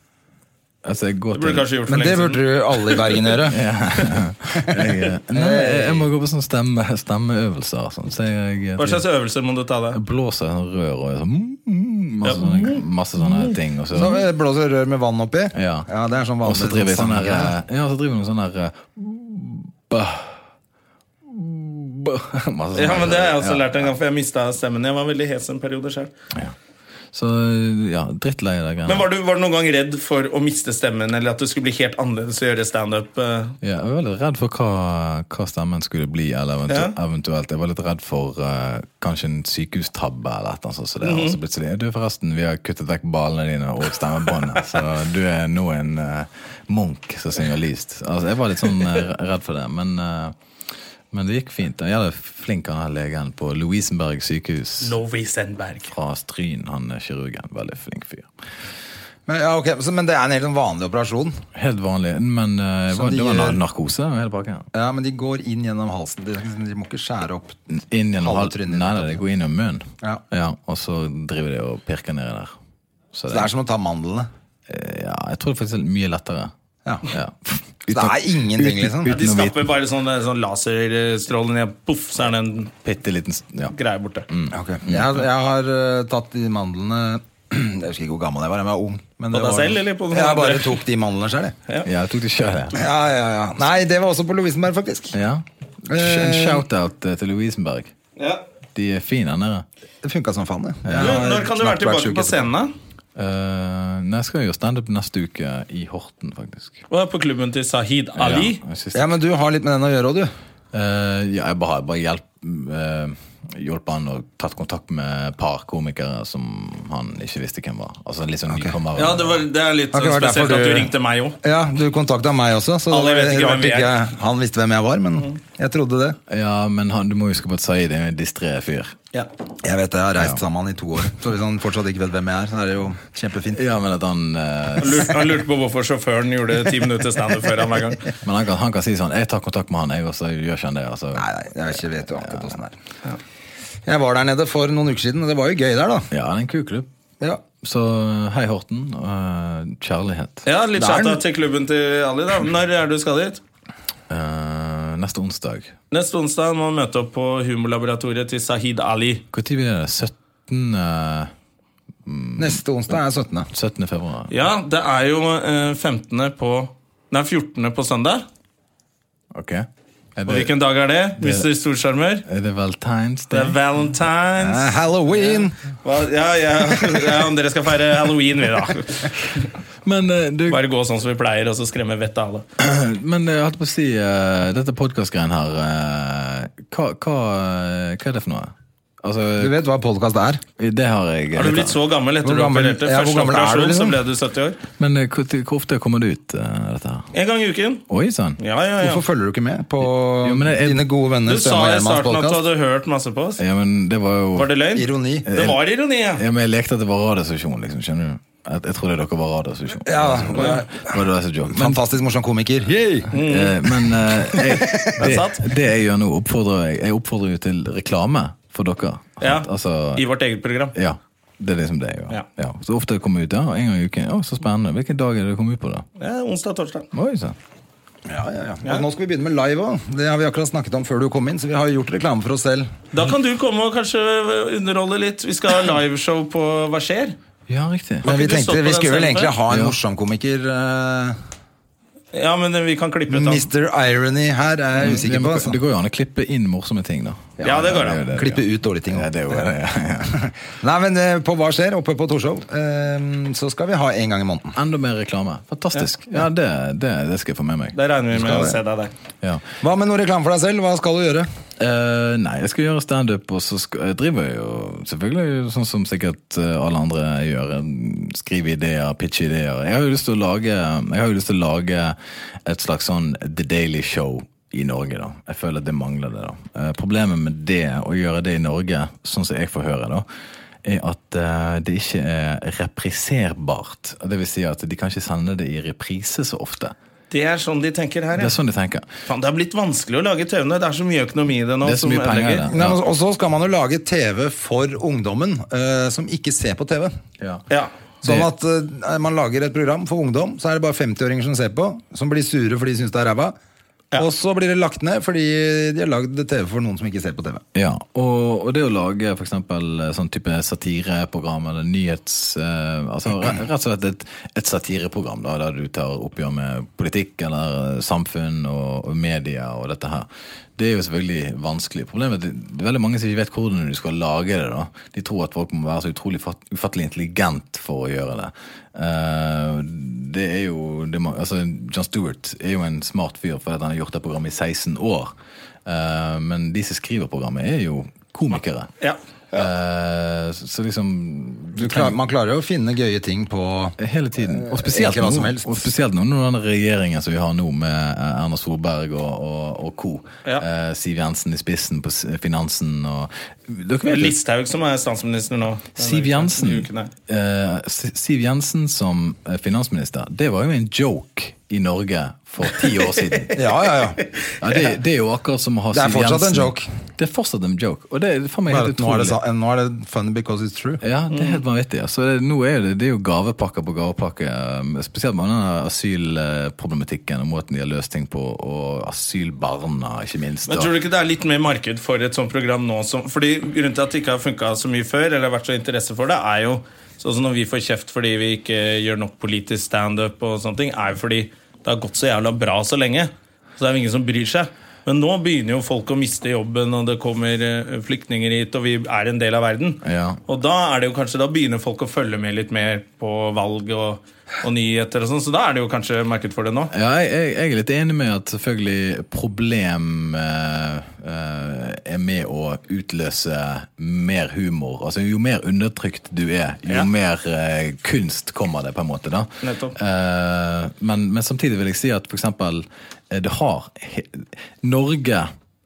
Speaker 3: Altså, jeg går
Speaker 1: Det burde du
Speaker 3: til
Speaker 1: kanskje gjort for
Speaker 2: Men det
Speaker 1: lenge
Speaker 2: burde
Speaker 1: siden.
Speaker 2: du alle i Bergen
Speaker 3: [LAUGHS]
Speaker 2: gjøre.
Speaker 3: jeg, eh, Nei, jeg jeg må gå på sånne stemme, stemmeøvelser. Sånn. Så jeg,
Speaker 1: Hva
Speaker 3: jeg,
Speaker 1: slags øvelser må du ta deg?
Speaker 3: jeg blåser en rør og jeg sånn mm, masse, sånne, masse sånne ting. Og så,
Speaker 1: Sånn,
Speaker 2: Så
Speaker 1: eh,
Speaker 2: blåser rør med vann oppi.
Speaker 3: ja.
Speaker 2: det er sånn vanlig.
Speaker 3: og så driver jeg sånn her
Speaker 2: sanggreie.
Speaker 3: eh, Ja, så driver jeg med sånn her eh, bøh, bøh, [LAUGHS] masse sånne
Speaker 1: Ja, men Det har jeg også
Speaker 3: ja.
Speaker 1: lært en gang, for jeg mista stemmen. Jeg var veldig hes en periode selv
Speaker 3: Så eh, ja, drittlei av de
Speaker 1: Men
Speaker 3: greiene.
Speaker 1: var du, var du noen gang redd for å miste stemmen, eller at du skulle bli helt annerledes og gjøre standup? eh?
Speaker 3: Ja, jeg var litt redd for hva, hva stemmen skulle bli, eller eventu
Speaker 1: Ja.
Speaker 3: eventuelt. Jeg var litt redd for eh, kanskje en sykehustabbe eller et eller annet. sånt, Så det, Og så plutselig Du, forresten, vi har kuttet vekk ballene dine og stemmebåndet, så du er nå en eh, Munch som synger lyst. Altså, jeg var litt sånn eh, redd for det, men eh, men det gikk fint. Jeg er flink han her legen på Lovisenberg sykehus
Speaker 1: Lovi Sandberg.
Speaker 3: fra Stryn. Han er kirurgen. Veldig flink fyr.
Speaker 2: Men, ja, ok, så, men det er en helt sånn vanlig operasjon.
Speaker 3: Helt vanlig, men eh, det var,
Speaker 2: de
Speaker 3: det var
Speaker 2: gjør.
Speaker 3: narkose og hele pakken.
Speaker 2: Ja, Men de går inn gjennom halsen. De, liksom, de må ikke skjære opp.
Speaker 3: Inn gjennom
Speaker 2: Halve
Speaker 3: hal-
Speaker 2: trynet.
Speaker 3: Nei, nei, det går inn gjennom munnen.
Speaker 2: Ja.
Speaker 3: og så driver de og pirker nedi der. Så
Speaker 2: Så det er som å ta mandlene.
Speaker 3: eh, ja, jeg tror det faktisk er mye lettere.
Speaker 2: Ja.
Speaker 3: Ja.
Speaker 2: Så [LAUGHS] det er ingenting, liksom.
Speaker 1: De
Speaker 3: Uten å
Speaker 1: stapper
Speaker 3: vite
Speaker 1: bare sånn, sånn laserstråle ned, poff, så er det en
Speaker 3: bitte liten ja.
Speaker 1: greie borte.
Speaker 2: Ok. Jeg, jeg har eh, tatt de mandlene [CLEARS THROAT] Jeg husker ikke hvor gammel jeg var, jeg var ung. Men
Speaker 1: På
Speaker 2: det
Speaker 1: deg
Speaker 2: var-
Speaker 1: selv, eller på noen
Speaker 2: Jeg bare
Speaker 1: andre?
Speaker 2: tok de mandlene sjøl, jeg.
Speaker 3: ja, jeg tok det sjøl, jeg.
Speaker 2: Ja, ja, ja. Nei, det var også på Lovisenberg, faktisk.
Speaker 3: Ja. En shout-out eh, til Lovisenberg.
Speaker 1: Ja.
Speaker 3: De er fine der nede.
Speaker 2: Det funka som faen, det.
Speaker 1: Du, når kan du være tilbake på scenen? da?
Speaker 3: Eh, nei, jeg skal jo standup neste uke i Horten, faktisk.
Speaker 1: Og På klubben til Sahid Ali?
Speaker 3: Ja, jeg synes-
Speaker 2: Ja, men du har litt med den å gjøre òg, du.
Speaker 3: Eh, ja, jeg bare, bare hjelp, eh, hjelp han og tatt kontakt med et par komikere som han ikke visste hvem var. Altså litt sånn nykommere.
Speaker 1: Ja, det, var, det er litt
Speaker 2: Har ikke
Speaker 1: sånn
Speaker 2: vært
Speaker 1: spesielt
Speaker 2: derfor
Speaker 1: at du
Speaker 2: du-
Speaker 1: ringte meg òg.
Speaker 2: Ja, du kontakta meg også, så
Speaker 1: Alle vet
Speaker 2: det
Speaker 1: ikke
Speaker 2: var
Speaker 1: hvem vi er. Mm.
Speaker 2: ikke- han visste hvem jeg var, men jeg trodde det.
Speaker 3: Ja, men han, du må huske på at Saeed er en distré fyr.
Speaker 2: Jeg vet det, jeg har reist sammen med han i to år, så hvis han fortsatt ikke vet hvem jeg er, så er det jo kjempefint.
Speaker 3: Ja, men at han eh,
Speaker 1: Han lurte- Han lurte på hvorfor sjåføren gjorde ti minutter standup før han hver gang.
Speaker 3: Men han kan, han kan si sånn 'Jeg tar kontakt med han, jeg', og så gjør ikke han det. Altså.
Speaker 2: Nei, nei, jeg vet ikke vet jo akkurat åssen det er. Jeg var der nede for noen uker siden, og det var jo gøy der, da.
Speaker 3: Ja, det er en kuklubb.
Speaker 2: Ja.
Speaker 3: Så hei, Horten. eh, kjærlighet.
Speaker 1: Ja, Litt
Speaker 2: Det er
Speaker 1: chatta
Speaker 2: den.
Speaker 1: til klubben til Ali, da. Når er det du skal dit?
Speaker 3: Eh, neste onsdag.
Speaker 1: Neste onsdag må man møte opp på humorlaboratoriet til Sahid Ali.
Speaker 3: Når blir det? 17. eh,
Speaker 2: Neste onsdag er 17.
Speaker 3: 17. februar?
Speaker 1: Ja, det er jo eh, 15. på Nei, 14. på søndag.
Speaker 3: Ok. Er
Speaker 1: Og
Speaker 3: det,
Speaker 1: hvilken dag er det? Mr. Storskjermer?
Speaker 3: er det Valentine's
Speaker 1: Det
Speaker 3: Day?
Speaker 1: er valentines.
Speaker 2: Eh, Halloween!
Speaker 1: Hva? Ja, ja, ja, om dere skal feire halloween, vi, da.
Speaker 3: Men eh, du,
Speaker 1: Bare gå sånn som vi pleier, og så skremme vettet av alle.
Speaker 3: men jeg holdt på å si eh, Dette podkastgreien her eh, hva, hva, eh, hva er det for noe? Altså,
Speaker 2: Du vet hva podkast er?
Speaker 3: det har jeg
Speaker 1: Har du blitt så gammel etter
Speaker 2: Hvor
Speaker 1: du
Speaker 2: gammel-
Speaker 1: opererte?
Speaker 2: ja, hvor
Speaker 1: Første
Speaker 2: gammel er du,
Speaker 1: operasjon,
Speaker 2: liksom?
Speaker 1: så ble du 70 år.
Speaker 3: Men eh, hvor, hvor ofte kommer det ut, eh, dette her?
Speaker 1: En gang i uken.
Speaker 3: Oi sånn. sann!
Speaker 1: Ja, ja, ja.
Speaker 2: Hvorfor følger du ikke med på
Speaker 3: Jo, men jeg- jeg-
Speaker 2: dine gode venner
Speaker 1: Du sa
Speaker 2: Støme og
Speaker 1: i
Speaker 2: Gjermans
Speaker 1: starten at du
Speaker 2: podcast?
Speaker 1: hadde hørt masse på oss.
Speaker 3: Ja, men det var jo
Speaker 1: Var det løgn?
Speaker 2: Ironi.
Speaker 1: Det var ironi, ja.
Speaker 3: Ja, men Jeg lekte at det var radiostasjon, liksom. skjønner du? Jeg, jeg trodde dere var radiostasjon.
Speaker 2: Ja,
Speaker 3: Var det der som joke? Men,
Speaker 2: Fantastisk morsom komiker.
Speaker 3: eh, men eh,
Speaker 1: [LAUGHS]
Speaker 3: jeg,
Speaker 1: satt.
Speaker 3: det, det jeg gjør nå, oppfordrer jeg Jeg oppfordrer jo til reklame for dere.
Speaker 1: ja.
Speaker 3: Sant? Altså,
Speaker 1: I vårt eget program.
Speaker 3: ja. Det er liksom det jeg gjør.
Speaker 1: Ja.
Speaker 3: Ja. Så ofte det kommer ut ja, en gang i uken. Å, så spennende. Hvilken dag er det det kommer ut på, da?
Speaker 1: Ja, onsdag og torsdag.
Speaker 3: Oi, sant.
Speaker 2: Ja, ja, ja. Og nå skal vi begynne med live òg. Det har vi akkurat snakket om før du kom inn, så vi har jo gjort reklame for oss selv.
Speaker 1: Da kan du komme og kanskje underholde litt. Vi skal ha liveshow på Hva skjer?
Speaker 3: Ja, riktig.
Speaker 2: Men vi
Speaker 1: ikke du stått
Speaker 2: tenkte
Speaker 1: på
Speaker 2: vi
Speaker 1: den
Speaker 2: skulle vel
Speaker 1: scenen
Speaker 2: egentlig
Speaker 1: før?
Speaker 2: ha en
Speaker 3: Ja.
Speaker 2: morsom komiker. eh,
Speaker 1: Ja, men vi kan klippe ut den.
Speaker 2: Mr. Irony her er jeg
Speaker 3: Ja,
Speaker 2: usikker
Speaker 3: men
Speaker 2: på.
Speaker 3: Det
Speaker 2: Altså.
Speaker 3: går jo an å klippe inn morsomme ting, da.
Speaker 1: Ja, det går an.
Speaker 3: er jo det det
Speaker 2: Klippe
Speaker 3: gjør.
Speaker 2: ut dårlige ting.
Speaker 3: Ja, det er jo det. Ja, ja.
Speaker 2: [LAUGHS] Nei, men eh, på Hva skjer? Oppe på Torshov. eh, Så skal vi ha en gang i måneden.
Speaker 3: Enda mer reklame. Fantastisk. Ja, det, det, det skal jeg få med meg.
Speaker 1: Da regner vi med å se deg der.
Speaker 3: Ja.
Speaker 2: Hva med noe reklame for deg selv? Hva skal du gjøre?
Speaker 3: Eh, nei, jeg skal gjøre standup, og så skal, jeg driver jeg jo selvfølgelig sånn som sikkert eh, alle andre gjør. eh, Skrive ideer, pitche ideer. Jeg har jo lyst til å lage, jeg har jo lyst til å lage et slags sånn The Daily Show i Norge, da. Jeg føler at det mangler det, da. Eh, problemet med det, å gjøre det i Norge, sånn som jeg får høre, da, er at eh, det ikke er repriserbart. Det vil si at de kan ikke sende det i reprise så ofte.
Speaker 1: Det er sånn de tenker her,
Speaker 3: Det
Speaker 1: ja.
Speaker 3: er sånn de tenker.
Speaker 1: Faen, det har blitt vanskelig å lage TV-ene. Det er så mye økonomi i det nå.
Speaker 3: Det er så
Speaker 1: som
Speaker 3: mye penger i
Speaker 1: ødelegger.
Speaker 3: det.
Speaker 2: Nei, men Og så skal man jo lage TV for ungdommen eh, som ikke ser på TV.
Speaker 3: Ja.
Speaker 1: Ja.
Speaker 2: Sånn at eh, man lager et program for ungdom, så er det bare 50-åringer som ser på, som blir sure fordi de syns det er ræva. Og så blir det lagt ned fordi de har lagd TV for noen som ikke ser på TV.
Speaker 3: Ja, og, og det å lage for eksempel eh, sånn type satireprogram eller nyhets... Eh, altså re- rett og slett et, et satireprogram da, der du tar oppgjør med politikk eller eh, samfunn og, og media og dette her. Det er jo selvfølgelig vanskelig. Problemet er at det- det er veldig mange som ikke vet hvordan du skal lage det da. De tror at folk må være så utrolig fat, ufattelig intelligent for å gjøre det. Eh, det er jo... Det, må- altså, John Stewart er jo en smart fyr fordi at han har gjort det programmet i 16 år. Eh, men de som skriver programmet, er jo komikere.
Speaker 1: Ja.
Speaker 3: Eh, så, så liksom
Speaker 2: Du klar, man klarer jo å finne gøye ting på
Speaker 3: Hele tiden. Og spesielt,
Speaker 2: Egentlig hva
Speaker 3: nå,
Speaker 2: som helst.
Speaker 3: og spesielt nå når den regjeringen som vi har nå, med eh, Erna Solberg og, og, og co.
Speaker 1: Ja.
Speaker 3: Eh, Siv Jensen i spissen på s- finansen og Dere
Speaker 1: Det
Speaker 3: vet
Speaker 1: er
Speaker 3: jo-
Speaker 1: Listhaug som er statsminister nå.
Speaker 3: Siv
Speaker 1: I
Speaker 3: Jensen,
Speaker 1: uken her.
Speaker 3: eh, S- Siv Jensen som eh, finansminister, det var jo en joke i Norge for ti år
Speaker 1: [LAUGHS]
Speaker 3: siden.
Speaker 2: Ja, ja, [LAUGHS] ja.
Speaker 3: Ja, det, det er jo akkurat som å ha
Speaker 2: Det er
Speaker 3: Siv
Speaker 2: fortsatt en
Speaker 3: Jensen.
Speaker 2: joke.
Speaker 3: Det er fortsatt en joke. Og det er faen meg
Speaker 2: Nå er
Speaker 3: helt
Speaker 2: det, nå er
Speaker 3: utrolig.
Speaker 2: det, sa- Mm. nå er det funny because it's true.
Speaker 3: Ja, det er helt vanvittig. Altså, det, nå er det, det er jo gavepakke på gavepakke. um, Spesielt med denne asylproblematikken og måten de har løst ting på, og asylbarna, ikke minst.
Speaker 1: Men
Speaker 3: da.
Speaker 1: tror du ikke det er litt mer marked for et sånt program nå som Fordi Grunnen til at det ikke har funka så mye før, eller vært så interesse for det, er jo sånn som når vi får kjeft fordi vi ikke gjør nok politisk standup og sånne ting, er jo fordi det har gått så jævla bra så lenge. Så det er jo ingen som bryr seg. Men nå begynner jo folk å miste jobben, og det kommer eh, flyktninger hit, og vi er en del av verden.
Speaker 3: Ja.
Speaker 1: Og da er det jo kanskje, da begynner folk å følge med litt mer på valg og, og nyheter og sånn, så da er det jo kanskje marked for det nå.
Speaker 3: Ja, jeg, jeg, jeg er litt enig med at selvfølgelig problem eh, eh, er med å utløse mer humor. Altså Jo mer undertrykt du er, jo
Speaker 1: Ja.
Speaker 3: mer eh, kunst kommer det, på en måte. da.
Speaker 1: Nettopp.
Speaker 3: Eh, men, men samtidig vil jeg si at for eksempel eh, det har he- Norge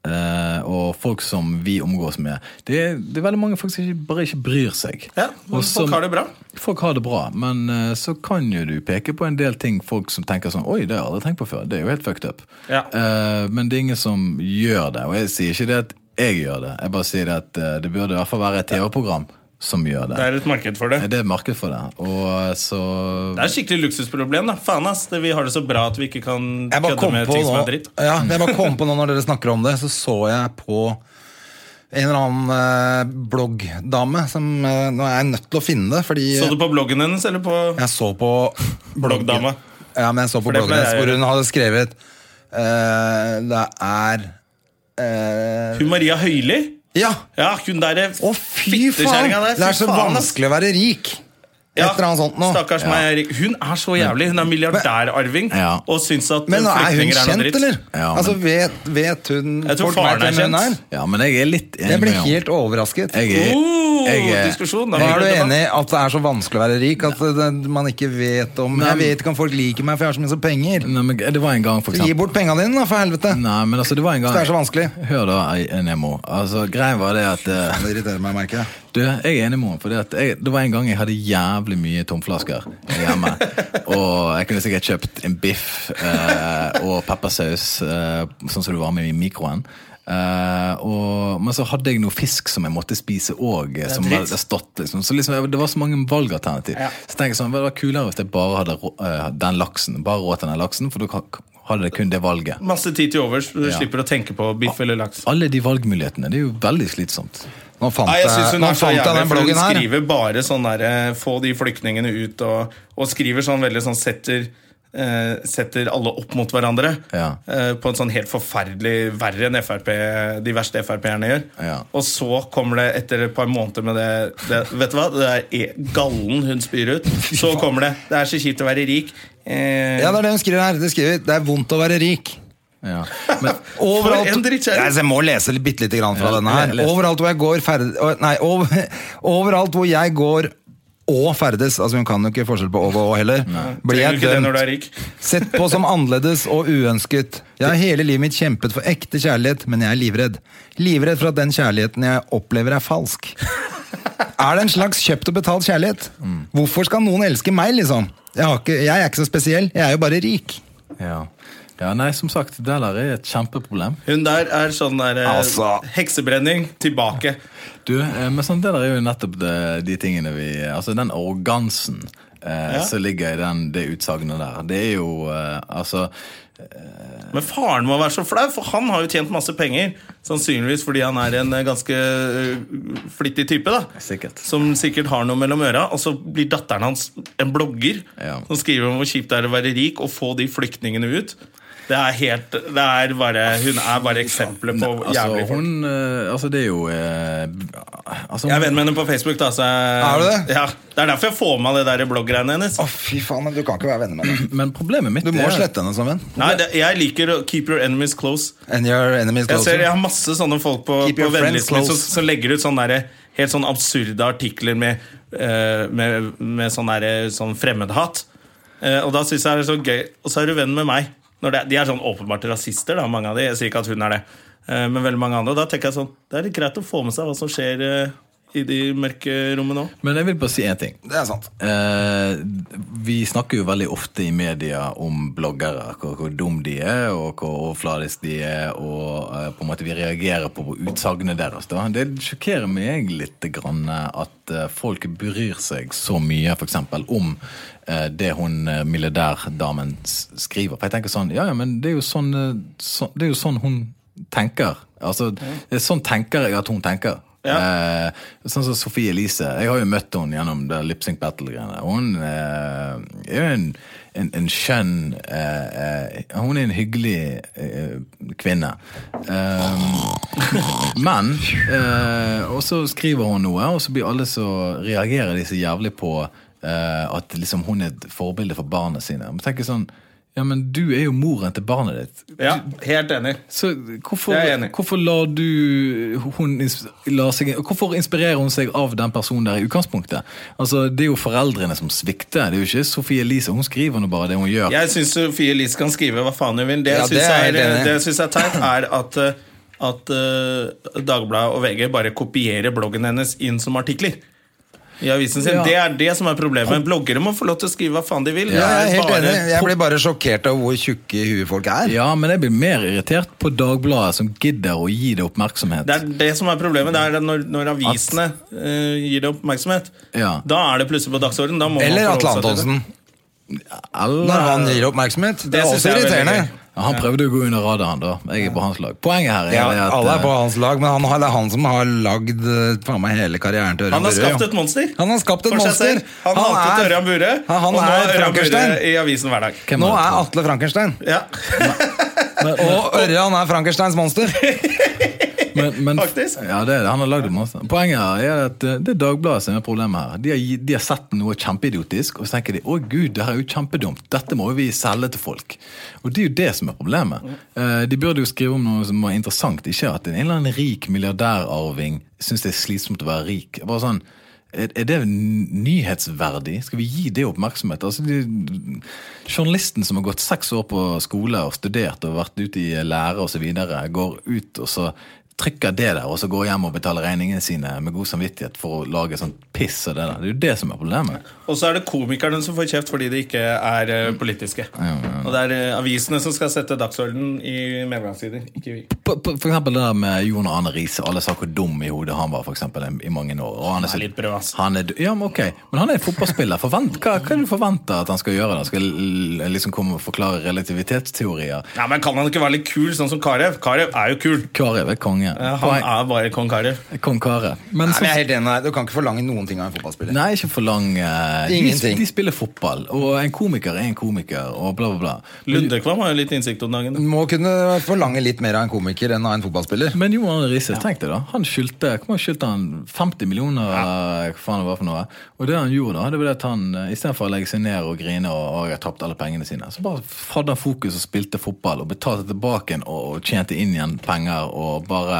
Speaker 3: eh, og folk som vi omgås med Det er, det er veldig mange folk som ikke, bare ikke bryr seg.
Speaker 1: Ja,
Speaker 3: Og
Speaker 1: men
Speaker 3: som-
Speaker 1: folk har det bra.
Speaker 3: Folk har det bra, men eh, så kan jo du peke på en del ting folk som tenker sånn Oi, det har jeg aldri tenkt på før. Det er jo helt fucked up.
Speaker 1: Ja.
Speaker 3: Eh, men det er ingen som gjør det. Og jeg sier ikke det at jeg gjør det. Jeg bare sier det at eh, det burde i hvert fall være et TV-program som gjør
Speaker 1: Det
Speaker 3: det.
Speaker 1: er et marked for det.
Speaker 3: Det er et marked for det. Og eh, så
Speaker 1: Det er et skikkelig luksusproblem. da Faen ass, det, Vi har det så bra at vi ikke kan
Speaker 2: Jeg bare
Speaker 1: kødde
Speaker 2: kom
Speaker 1: med
Speaker 2: på
Speaker 1: ting som
Speaker 2: nå,
Speaker 1: er dritt.
Speaker 2: ja, jeg bare kom på nå når dere snakker om det, så så jeg på en eller annen eh, bloggdame som eh, Nå er jeg nødt til å finne det, fordi
Speaker 1: Så du på bloggen hennes, eller på
Speaker 2: jeg så på bloggen-
Speaker 1: Bloggdama.
Speaker 2: Ja, men jeg så på
Speaker 1: For det
Speaker 2: bloggen hennes
Speaker 1: pleier jeg å
Speaker 2: hvor
Speaker 1: gjøre.
Speaker 2: hun hadde skrevet eh, Det er eh,
Speaker 1: Hun Maria Høili?
Speaker 2: Ja!
Speaker 1: Ja, hun derre
Speaker 2: Å, fy faen!
Speaker 1: der.
Speaker 2: Det er så vanskelig å være rik. Et eller annet sånt nå.
Speaker 1: Stakkars meg, jeg er rik. Hun er så jævlig. Hun er milliardærarving
Speaker 3: Ja.
Speaker 1: og syns at eh,
Speaker 2: Men nå er hun
Speaker 1: flyktninger er noe
Speaker 2: kjent,
Speaker 1: dritt.
Speaker 2: eller?
Speaker 3: Ja, men-
Speaker 2: Altså, vet, vet hun
Speaker 1: Jeg tror faren er kjent.
Speaker 3: Ja, men jeg er litt enig
Speaker 2: Jeg ble
Speaker 3: med henne.
Speaker 2: helt overrasket.
Speaker 3: Jeg er,
Speaker 1: Oh,
Speaker 3: jeg er,
Speaker 1: diskusjon, da.
Speaker 2: Men er du
Speaker 1: Debatt.
Speaker 2: enig i at det er så vanskelig å være rik? At det, man ikke vet om Jeg vet ikke om folk liker meg, for jeg har så mye så penger.
Speaker 3: Nei, men eh, det var en gang, for
Speaker 2: Gi
Speaker 3: eksempel.
Speaker 2: bort pengene dine, da, for helvete!
Speaker 3: Nei, men altså, det var en gang
Speaker 2: Det er så vanskelig.
Speaker 3: Hør da, Nemo. Altså, Greia var det at eh,
Speaker 2: Det irriterer meg, merker jeg.
Speaker 3: Du, jeg er enig med henne. For det var en gang jeg hadde jævlig mye tomflasker hjemme. og jeg kunne sikkert kjøpt en biff eh, og peppersaus, eh, sånn som det var med i mikroen. Eh, og, men så hadde jeg noe fisk som jeg måtte spise òg. Som
Speaker 1: dritt.
Speaker 3: hadde stått liksom. Så liksom, det var så mange valgalternativ. Så tenker jeg sånn, Det var kulere hvis jeg bare hadde rå- eh, den laksen, bare råd til den laksen, for da ka- hadde jeg kun det valget.
Speaker 1: Masse tid til overs. Du slipper å tenke på biff eller laks.
Speaker 3: Alle de valgmulighetene. Det er jo veldig slitsomt.
Speaker 2: Nå fant
Speaker 1: Nei, jeg synes
Speaker 2: jeg,
Speaker 1: hun
Speaker 2: nå
Speaker 1: er så
Speaker 2: fant jeg
Speaker 1: jævlig,
Speaker 2: den
Speaker 1: for hun
Speaker 2: bloggen her.
Speaker 1: skriver bare sånn der eh, Få de flyktningene ut, og, og skriver sånn veldig sånn setter eh, setter alle opp mot hverandre
Speaker 3: Ja.
Speaker 1: eh, på en sånn helt forferdelig verre enn FRP, de verste Frp-erne gjør.
Speaker 3: Ja.
Speaker 1: Og så kommer det etter et par måneder med det, det Vet du hva? Det er e- gallen hun spyr ut. Så kommer det. Det er så kjipt å være rik. Eh,
Speaker 2: Ja, det er det hun skriver her. Det, skriver, det er vondt å være rik.
Speaker 3: Ja. Men,
Speaker 2: Overalt,
Speaker 1: [LAUGHS] For en
Speaker 2: Nei,
Speaker 1: drittkjerring.
Speaker 2: så jeg må lese litt- bitte lite grann fra
Speaker 3: Ja,
Speaker 2: denne her.
Speaker 3: les.
Speaker 2: Overalt hvor jeg går ferd... å, Nei, over, [LAUGHS] overalt hvor jeg går og ferdes Altså Hun kan jo ikke forskjell på over og heller. Blir
Speaker 1: Trenger
Speaker 2: jeg
Speaker 1: du ikke det når du
Speaker 2: dømt
Speaker 1: er rik?
Speaker 2: Sett på som annerledes og uønsket. Jeg har hele livet mitt kjempet for ekte kjærlighet, men jeg er livredd. Livredd for at den kjærligheten jeg opplever, er falsk. Er det en slags kjøpt og betalt kjærlighet? Hvorfor skal noen elske meg, liksom? Jeg, har ikke, jeg er ikke så spesiell, jeg er jo bare rik.
Speaker 3: Ja. ja, nei, som sagt, det der er et kjempeproblem.
Speaker 1: Hun der er sånn der eh,
Speaker 2: Altså.
Speaker 1: Heksebrenning tilbake.
Speaker 3: Du, eh, men sånn, det der er jo nettopp de, de tingene vi Altså den arrogansen eh,
Speaker 1: Ja.
Speaker 3: som ligger i den, det utsagnet der, det er jo eh, Altså
Speaker 1: Men faren må være så flau, for han har jo tjent masse penger. Sannsynligvis fordi han er en eh, ganske eh, flittig type, da.
Speaker 3: Sikkert.
Speaker 1: Som sikkert har noe mellom øra. Og så blir datteren hans en blogger
Speaker 3: Ja.
Speaker 1: som skriver om hvor kjipt det er å være rik og få de flyktningene ut. Det er helt, det er bare, Hun er bare eksempelet på
Speaker 3: Altså,
Speaker 1: jævlige folk.
Speaker 3: hun eh, Altså, det er jo eh, altså,
Speaker 1: Jeg er venn med henne på Facebook. da så jeg,
Speaker 2: Er du det?
Speaker 1: Ja, Det er derfor jeg får med meg det der blogggreiene hennes.
Speaker 2: Å, fy faen, du kan ikke være venner med henne.
Speaker 3: Men problemet mitt
Speaker 2: Du må
Speaker 3: er
Speaker 2: slette henne som venn.
Speaker 1: Nei, det, Jeg liker å keep your enemies close.
Speaker 2: And your enemies
Speaker 1: Jeg, ser, jeg
Speaker 2: closer.
Speaker 1: har masse sånne folk på,
Speaker 2: Keep
Speaker 1: på
Speaker 2: your friends
Speaker 1: vennelisten min som,
Speaker 2: close.
Speaker 1: som legger ut sånne der, helt sånn absurde artikler med, eh, med, med sånn, der, sånn fremmedhat. Eh, og da synes jeg det er så gøy. Og så er du venn med meg. Når det, er- de er sånn åpenbart rasister, da, mange av de. Jeg sier ikke at hun er det. Eh, men veldig mange andre. Og da tenker jeg sånn, det er litt greit å få med seg hva som skjer eh, i de mørke rommene òg.
Speaker 3: Men jeg vil bare si én ting.
Speaker 2: Det er sant.
Speaker 3: Eh, vi snakker jo veldig ofte i media om bloggere, hvor, hvor dum de er, og hvor overfladisk de er, og eh, på en måte vi reagerer på utsagnene deres. Da. Det sjokkerer meg litt grann, eh, at eh, folk bryr seg så mye for eksempel, om eh, det hun eh, milliardærdamen s- skriver. For jeg tenker sånn, ja, ja, men det er jo sånn, eh, så, det er jo sånn hun tenker. Altså, det er sånn tenker jeg at hun tenker. Eh, sånn som Sofie Elise. Jeg har jo møtt henne gjennom det Lip Sync Battle-greiene. Hun eh, er jo en, en, en skjønn eh, eh, Hun er en hyggelig eh, kvinne. Eh, men eh, Og så skriver hun noe, og så blir alle så reagerer de så jævlig på eh, at liksom hun er et forbilde for barna sine. Men tenker sånn Ja, men du er jo moren til barnet ditt.
Speaker 1: Ja, helt enig.
Speaker 3: Så hvorfor,
Speaker 1: Jeg er enig.
Speaker 3: hvorfor lar du hun ins- la seg, Hvorfor inspirerer hun seg av den personen der i utgangspunktet? Altså, Det er jo foreldrene som svikter. Det er jo ikke Sophie Elise. Hun skriver nå bare det hun gjør.
Speaker 1: Jeg syns Sofie Elise kan skrive hva faen hun vil. Det jeg
Speaker 2: Ja, det
Speaker 1: syns
Speaker 2: er
Speaker 1: er,
Speaker 2: jeg helt enig i.
Speaker 1: det jeg synes er teit, er at, eh, at eh, Dagbladet og VG bare kopierer bloggen hennes inn som artikler. i avisen sin.
Speaker 3: Ja.
Speaker 1: Det er det som er problemet. Bloggere må få lov til å skrive hva faen de vil.
Speaker 2: Ja, jeg er helt
Speaker 1: Bare-
Speaker 2: enig. Jeg blir bare sjokkert over hvor tjukke i huet folk er.
Speaker 3: Ja, men jeg blir mer irritert på Dagbladet, som gidder å gi det oppmerksomhet.
Speaker 1: Det er det som er problemet. Det er det når, når avisene eh, gir det oppmerksomhet.
Speaker 3: Ja.
Speaker 1: Da er det plutselig på dagsordenen. Da må man
Speaker 2: Eller
Speaker 1: forholde
Speaker 2: Atle
Speaker 1: seg til det.
Speaker 2: Antonsen. Når
Speaker 3: Eller,
Speaker 2: han gir oppmerksomhet. Det
Speaker 1: Det
Speaker 2: er
Speaker 1: synes
Speaker 2: også
Speaker 1: jeg er veldig
Speaker 2: irriterende.
Speaker 1: gøy.
Speaker 3: ja, han prøvde å gå under radaren, da. Jeg er på hans lag. Poenget her er
Speaker 2: Ja,
Speaker 3: det at
Speaker 2: alle er på
Speaker 3: eh,
Speaker 2: hans lag, men han har, det er han som har lagd eh, faen meg hele karrieren til Ørjan
Speaker 1: Han har
Speaker 2: Burøe.
Speaker 1: skapt et monster.
Speaker 2: Han har skapt et
Speaker 1: for seg
Speaker 2: monster.
Speaker 1: selv. Han,
Speaker 2: Han
Speaker 1: hatet
Speaker 2: er-
Speaker 1: Ørjan Burøe,
Speaker 2: Ja, han
Speaker 1: og
Speaker 2: er
Speaker 1: nå er Ørjan
Speaker 2: Frankenstein.
Speaker 1: Burøe i avisen hver dag.
Speaker 3: hvem
Speaker 2: Nå
Speaker 3: det?
Speaker 2: er Atle Frankenstein.
Speaker 1: Ja,
Speaker 2: Og Ørjan er Frankensteins [LAUGHS] monster.
Speaker 3: Men, men,
Speaker 1: Faktisk.
Speaker 3: Ja, det er det. Han har lagd det masse. Poenget her er at eh, det er Dagbladet som er problemet her. De har, gi- de har sett noe kjempeidiotisk, og så tenker de å gud, det her er jo kjempedumt. Dette må jo vi selge til folk. Og det er jo det som er problemet. Eh, De burde jo skrive om noe som var interessant, ikke at en eller annen rik milliardærarving syns det er slitsomt å være rik. Bare sånn, er er det n- nyhetsverdig? Skal vi gi det oppmerksomhet? Altså, de, journalisten som har gått seks år på skole og studert og vært ute i lære osv., går ut og så trykker det der, og så går hjem og betaler regningene sine med god samvittighet for å lage sånn piss av det der. Det er jo det som er problemet.
Speaker 1: Og så er det komikerne som får kjeft fordi de ikke er eh, politiske. Og det er eh, avisene som skal sette dagsordenen i medgangstider, ikke vi.
Speaker 3: På, på, for eksempel det der med Jon Arne Riise. Alle sa hvor dum i hodet han var for eksempel, i- i mange år. Og han er, så-
Speaker 1: Han er litt brød, ass.
Speaker 3: Han er, d- ja, men, ok. men han er fotballspiller. Forvent, hva, hva er det du forventer at han skal gjøre? da? Skal l- l- liksom komme og forklare relativitetsteorier?
Speaker 1: Ja, men Kan han ikke være litt kul, sånn som Karev? Karev er jo kul.
Speaker 3: Karev er konge.
Speaker 1: Ja, Han er bare kong Karev.
Speaker 3: Kong Kare. Men
Speaker 2: Nei,
Speaker 3: så,
Speaker 2: men jeg er helt enig med deg. Du kan ikke forlange noen ting av en fotballspiller.
Speaker 3: nei, ikke for lang eh, de,
Speaker 2: Ingenting.
Speaker 3: de spiller fotball, og en komiker er en komiker, og bla, bla, bla. Men,
Speaker 1: Lundekvam har jo litt innsikt om dagen.
Speaker 2: Du må kunne forlange litt mer av en komiker enn av en fotballspiller.
Speaker 3: men Jon Arne Riise, tenk deg da. Han skyldte, hvor mye skyldte han 50 millioner, eh, hva faen det var for noe. Og det han gjorde, da, det var det at han eh, istedenfor å legge seg ned og grine og, og jeg har tapt alle pengene sine, så bare hadde han fokus og spilte fotball og betalte tilbake igjen og, og tjente inn igjen penger og bare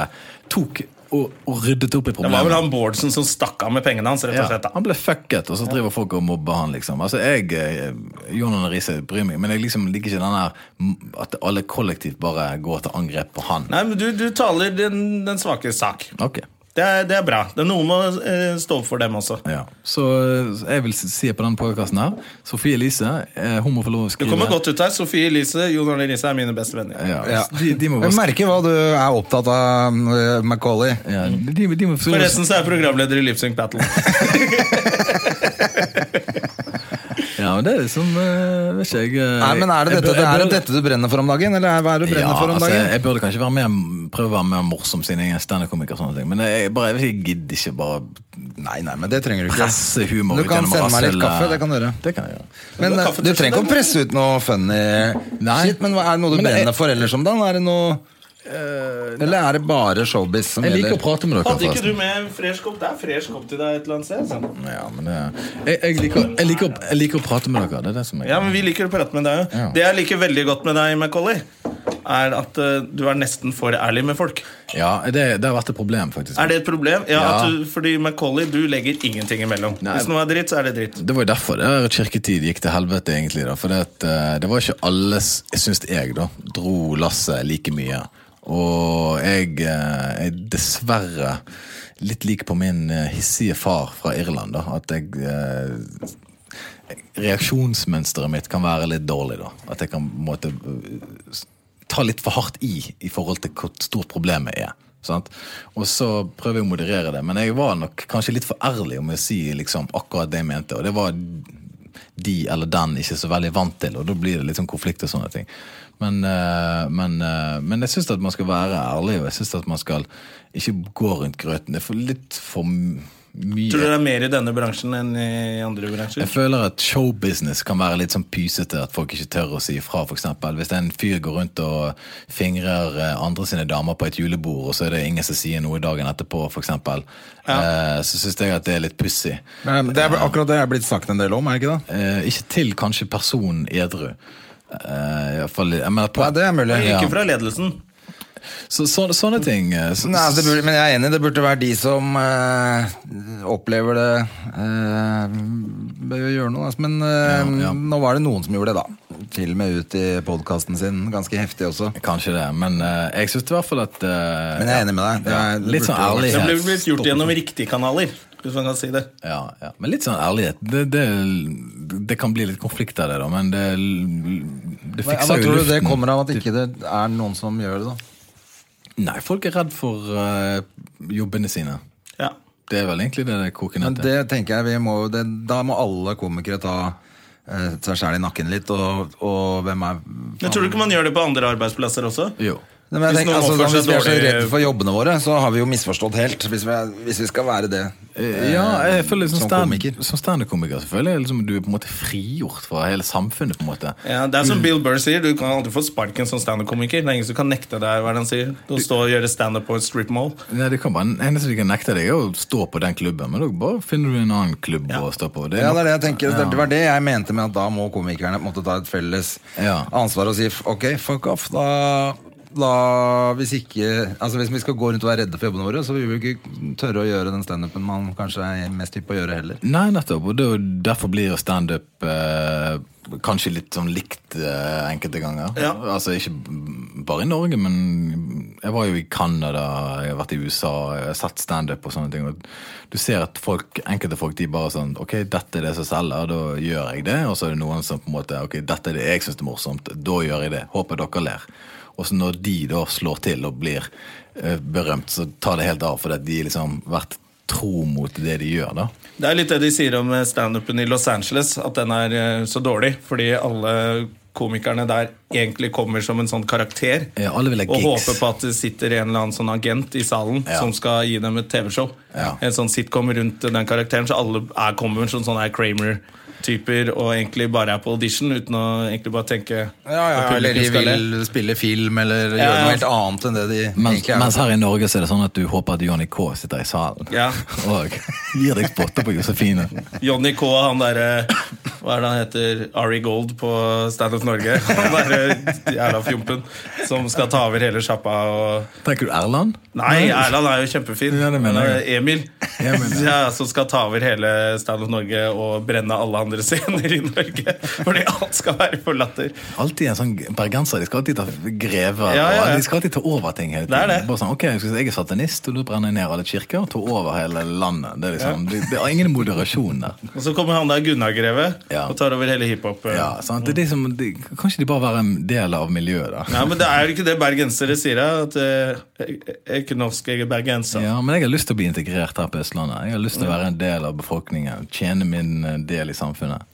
Speaker 3: tok og, og ryddet opp i
Speaker 1: Det
Speaker 3: problemet.
Speaker 1: var vel han Bårdsen som stakk av med pengene hans. rett og
Speaker 3: Ja,
Speaker 1: slett da.
Speaker 3: han ble fucket, og så driver folk og mobber han, liksom. Altså, jeg, eh, Jon Arne Riise bryr meg, men jeg liksom liker ikke den der mm, at alle kollektivt bare går til angrep på han.
Speaker 1: Nei, men Du, du taler den, den svake sak.
Speaker 3: Ok.
Speaker 1: Det er, det er bra. Det er Noen må eh, stå for dem også.
Speaker 3: Ja. Så eh, jeg vil si på den podkasten her Sofie Elise, eh, hun må få lov å
Speaker 1: Du
Speaker 3: skrive.
Speaker 1: kommer godt ut her. Sofie Elise Jon Arne Riise er mine beste venner.
Speaker 3: Ja,
Speaker 2: Ja.
Speaker 3: De, de må
Speaker 2: Jeg
Speaker 3: bare sk-
Speaker 2: merker hva du er opptatt av, eh, Macaulay.
Speaker 3: ja, de, de, må få lov å
Speaker 1: Forresten så er jeg programleder i Lipsync Battle.
Speaker 3: Ja, men det er liksom eh, Vet ikke jeg eh,
Speaker 2: Nei, men er det,
Speaker 3: jeg
Speaker 2: dette,
Speaker 3: bør- jeg
Speaker 2: er det
Speaker 3: bør-
Speaker 2: dette du brenner for om dagen, eller er- hva er det du brenner for om
Speaker 3: altså,
Speaker 2: dagen?
Speaker 3: Jeg burde kanskje være mer, prøve å være mer morsom siden jeg er standup-komiker. og sånne ting, Men jeg, bare, jeg gidder ikke bare
Speaker 2: Nei, nei, men det trenger du ikke.
Speaker 3: presse humor
Speaker 2: Du
Speaker 3: ut
Speaker 2: kan
Speaker 3: gjennom
Speaker 2: sende meg litt
Speaker 3: rasshølet.
Speaker 2: kaffe, det kan du gjøre.
Speaker 3: Det kan jeg gjøre.
Speaker 2: Men eh,
Speaker 1: Det var kaffe
Speaker 2: du
Speaker 1: til
Speaker 2: trenger ikke
Speaker 1: slutt,
Speaker 2: å presse ut noe funny
Speaker 3: Nei.
Speaker 2: shit, men eh, hva- er det noe du
Speaker 3: Men det er-
Speaker 2: brenner for ellers om dagen? Er det noe Eller er det bare showbiz som
Speaker 3: Jeg liker å
Speaker 2: gjelder?
Speaker 3: prate med dere,
Speaker 1: Hadde ikke du med en fresh kopp? Det er fresh kopp til deg et eller annet sted. sant?
Speaker 3: Ja, men det, jeg, jeg, liker, jeg, liker, å- jeg liker å prate med dere. Det er det som er
Speaker 1: Ja, men Vi liker å prate med deg jo.
Speaker 3: Ja.
Speaker 1: Det jeg liker veldig godt med deg, Macauley, er at eh, du er nesten for ærlig med folk.
Speaker 3: ja, det, det har vært et problem, faktisk.
Speaker 1: Er det et problem? Ja,
Speaker 3: Ja.
Speaker 1: At du, Fordi Macauley, du legger ingenting imellom.
Speaker 3: Nei.
Speaker 1: Hvis noe er dritt, så er det dritt.
Speaker 3: Det var jo derfor det der kirketid gikk til helvete, egentlig. da, For det, at, eh, det var ikke alle, s- syns jeg, da, dro lasset like mye. Og jeg eh, er dessverre litt lik på min eh, hissige far fra Irland, da. At jeg eh, Reaksjonsmønsteret mitt kan være litt dårlig, da. At jeg kan på en måte eh, s- ta litt for hardt i i forhold til hvor stort problemet er. Sant? Og så prøver jeg å moderere det, men jeg var nok kanskje litt for ærlig om å si liksom, akkurat det jeg mente. Og det var de eller den ikke så veldig vant til, og da blir det litt sånn konflikt og sånne ting. Men, eh, men, eh, men jeg syns at man skal være ærlig, og jeg syns at man skal ikke gå rundt grøten. Det er for litt for m- mye
Speaker 1: Tror du det er mer i denne bransjen enn i andre bransjer?
Speaker 3: jeg føler at showbusiness kan være litt sånn pysete, at folk ikke tør å si ifra, f.eks. Hvis en fyr går rundt og fingrer eh, andre sine damer på et julebord, og så er det ingen som sier noe dagen etterpå, f.eks., eh, så syns jeg at det er litt pussig.
Speaker 2: Nei, men Det er akkurat det jeg er blitt sagt en del om, er det ikke det?
Speaker 3: Eh, ikke til kanskje personen edru. Eh, i hvert fall, jeg mener, på,
Speaker 2: Nei, det er mulig.
Speaker 3: Ja.
Speaker 1: Ikke fra ledelsen.
Speaker 3: så, så, sånne ting eh, så,
Speaker 2: Nei, altså, det burde, men jeg er enig, det burde være de som eh, opplever det eh, bør jo gjøre noe. Altså. Men eh,
Speaker 3: Ja, ja.
Speaker 2: nå var det noen som gjorde det, da. Til og med ut i podkasten sin. Ganske heftig også.
Speaker 3: Kanskje det, men eh, jeg syns i hvert fall at eh,
Speaker 2: Men jeg er enig med deg. Det er- det
Speaker 3: ja, Litt
Speaker 2: burde jo
Speaker 3: sånn
Speaker 2: vært-
Speaker 3: ærlighet.
Speaker 1: Det ble blitt gjort gjennom riktige kanaler. Hvis man kan si det.
Speaker 3: Ja, ja. Men litt sånn ærlighet. Det, det, det kan bli litt konflikt av det, da, men det, det
Speaker 2: Hva,
Speaker 3: fikser
Speaker 2: tror
Speaker 3: jo
Speaker 2: du
Speaker 3: luften.
Speaker 2: det kommer av at ikke det er noen som gjør det, da?
Speaker 3: Nei, folk er redd for eh, jobbene sine.
Speaker 1: Ja.
Speaker 3: Det er vel egentlig det det koker
Speaker 2: Men
Speaker 3: ned til.
Speaker 2: det tenker jeg vi må det, Da må alle komikere ta eh, seg sjæl i nakken litt, og, og hvem er
Speaker 1: Men tror du ikke man gjør det på andre arbeidsplasser også?
Speaker 3: Jo.
Speaker 2: Nei, men jeg
Speaker 1: Hvis
Speaker 2: tenker,
Speaker 1: noen
Speaker 2: altså,
Speaker 1: oppfører
Speaker 2: hvis
Speaker 1: seg
Speaker 2: vi er så
Speaker 1: dårlig-
Speaker 2: redde for jobbene våre, så har vi jo misforstått helt. Hvis vi, er- hvis vi skal være det.
Speaker 3: Eh, Ja, jeg føler liksom
Speaker 2: som
Speaker 3: stand,
Speaker 2: komiker.
Speaker 3: Som standup-komiker så føler jeg liksom du er på en måte frigjort fra hele samfunnet. på en måte
Speaker 1: Ja, Det er som Bill Burr sier, du kan aldri få sparken som standup-komiker. Det er ingen som kan nekte deg hva han sier. Å stå og gjøre standup på et strip mall.
Speaker 3: Nei, det kan bare, eneste du kan nekte deg, er å stå på den klubben, men da bare finner du en annen klubb å stå på. Det er
Speaker 2: Ja,
Speaker 3: nok-
Speaker 2: det er det jeg tenker. Det var det jeg mente med at da må komikerne på en måte ta et felles
Speaker 3: Ja.
Speaker 2: ansvar og si f- ok, fuck off. Da, da hvis ikke Altså hvis vi skal gå rundt og være redde for jobbene våre, så vil vi jo ikke tørre å gjøre den standupen man kanskje er mest hypp på å gjøre heller.
Speaker 3: Nei, nettopp. Og det, er jo- derfor blir jo standup eh, kanskje litt sånn likt eh, enkelte ganger.
Speaker 1: Ja.
Speaker 3: Altså ikke b- bare i Norge, men jeg var jo i Canada, jeg har vært i USA, jeg har sett standup og sånne ting. Og du ser at folk, enkelte folk de bare sånn Ok, dette er det som selger, da gjør jeg det. Og så er det noen som på en måte Ok, dette er det jeg syns er morsomt, da gjør jeg det. Håper dere ler. Og så når de da slår til og blir eh, berømt, så tar det helt av, fordi at de liksom vært tro mot det de gjør, da.
Speaker 1: Det er litt det de sier om eh, standupen i Los Angeles, at den er eh, så dårlig fordi alle komikerne der egentlig kommer som en sånn karakter.
Speaker 3: Ja, alle vil ha
Speaker 1: og
Speaker 3: gigs.
Speaker 1: håper på at det sitter en eller annen sånn agent i salen
Speaker 3: Ja.
Speaker 1: som skal gi dem et TV-show.
Speaker 3: Ja.
Speaker 1: En sånn sitcom rundt den karakteren, så alle er, kommer som sånne her Kramer-typer og egentlig bare er på audition uten å egentlig bare tenke at publikum
Speaker 2: Eller de
Speaker 1: skal le.
Speaker 2: vil spille film eller gjøre
Speaker 1: Ja, ja.
Speaker 2: noe helt annet enn det de
Speaker 3: Mens,
Speaker 2: egentlig er.
Speaker 3: mens her i Norge så er det sånn at du håper at Johnny K sitter i salen
Speaker 1: Ja.
Speaker 3: og gir deg spotter på Josefine.
Speaker 1: Johnny K, han derre Hva er det han heter? Ari Gold på Stand Up Norge. Han derre jævla fjompen som skal ta over hele sjappa og
Speaker 3: Tenker du Erland?
Speaker 1: Nei, Erland er jo kjempefin.
Speaker 3: Ja, det mener jeg.
Speaker 1: Eh, Emil.
Speaker 3: Emil,
Speaker 1: ja, som skal ta over hele Stand Up Norge og brenne alle andre scener i Norge. Fordi alt skal være for latter.
Speaker 3: Alltid en sånn bergenser. De skal alltid ta
Speaker 1: Ja,
Speaker 3: grever.
Speaker 1: ja, ja.
Speaker 3: og De skal alltid ta over ting hele tiden.
Speaker 1: Det er det.
Speaker 3: Bare sånn, ok, jeg skal si, Jeg er satanist, og da brenner jeg ned alle kirker og tar over hele landet. Det er liksom, det, det er ingen moderasjon der.
Speaker 1: Og så kommer han der Gunnar Greve
Speaker 3: Ja.
Speaker 1: og tar over hele hiphop. eh.
Speaker 3: Ja, sant? Det er de som, de, kanskje de bare være en del av miljøet, da.
Speaker 1: Ja, men det er jo ikke det bergensere sier, da, at eh, jeg, jeg er ikke norsk, jeg er bergenser.
Speaker 3: Ja, men jeg har lyst til å bli integrert her på Østlandet. Jeg har lyst til å være en del av befolkningen. Tjene min eh, del i samfunnet.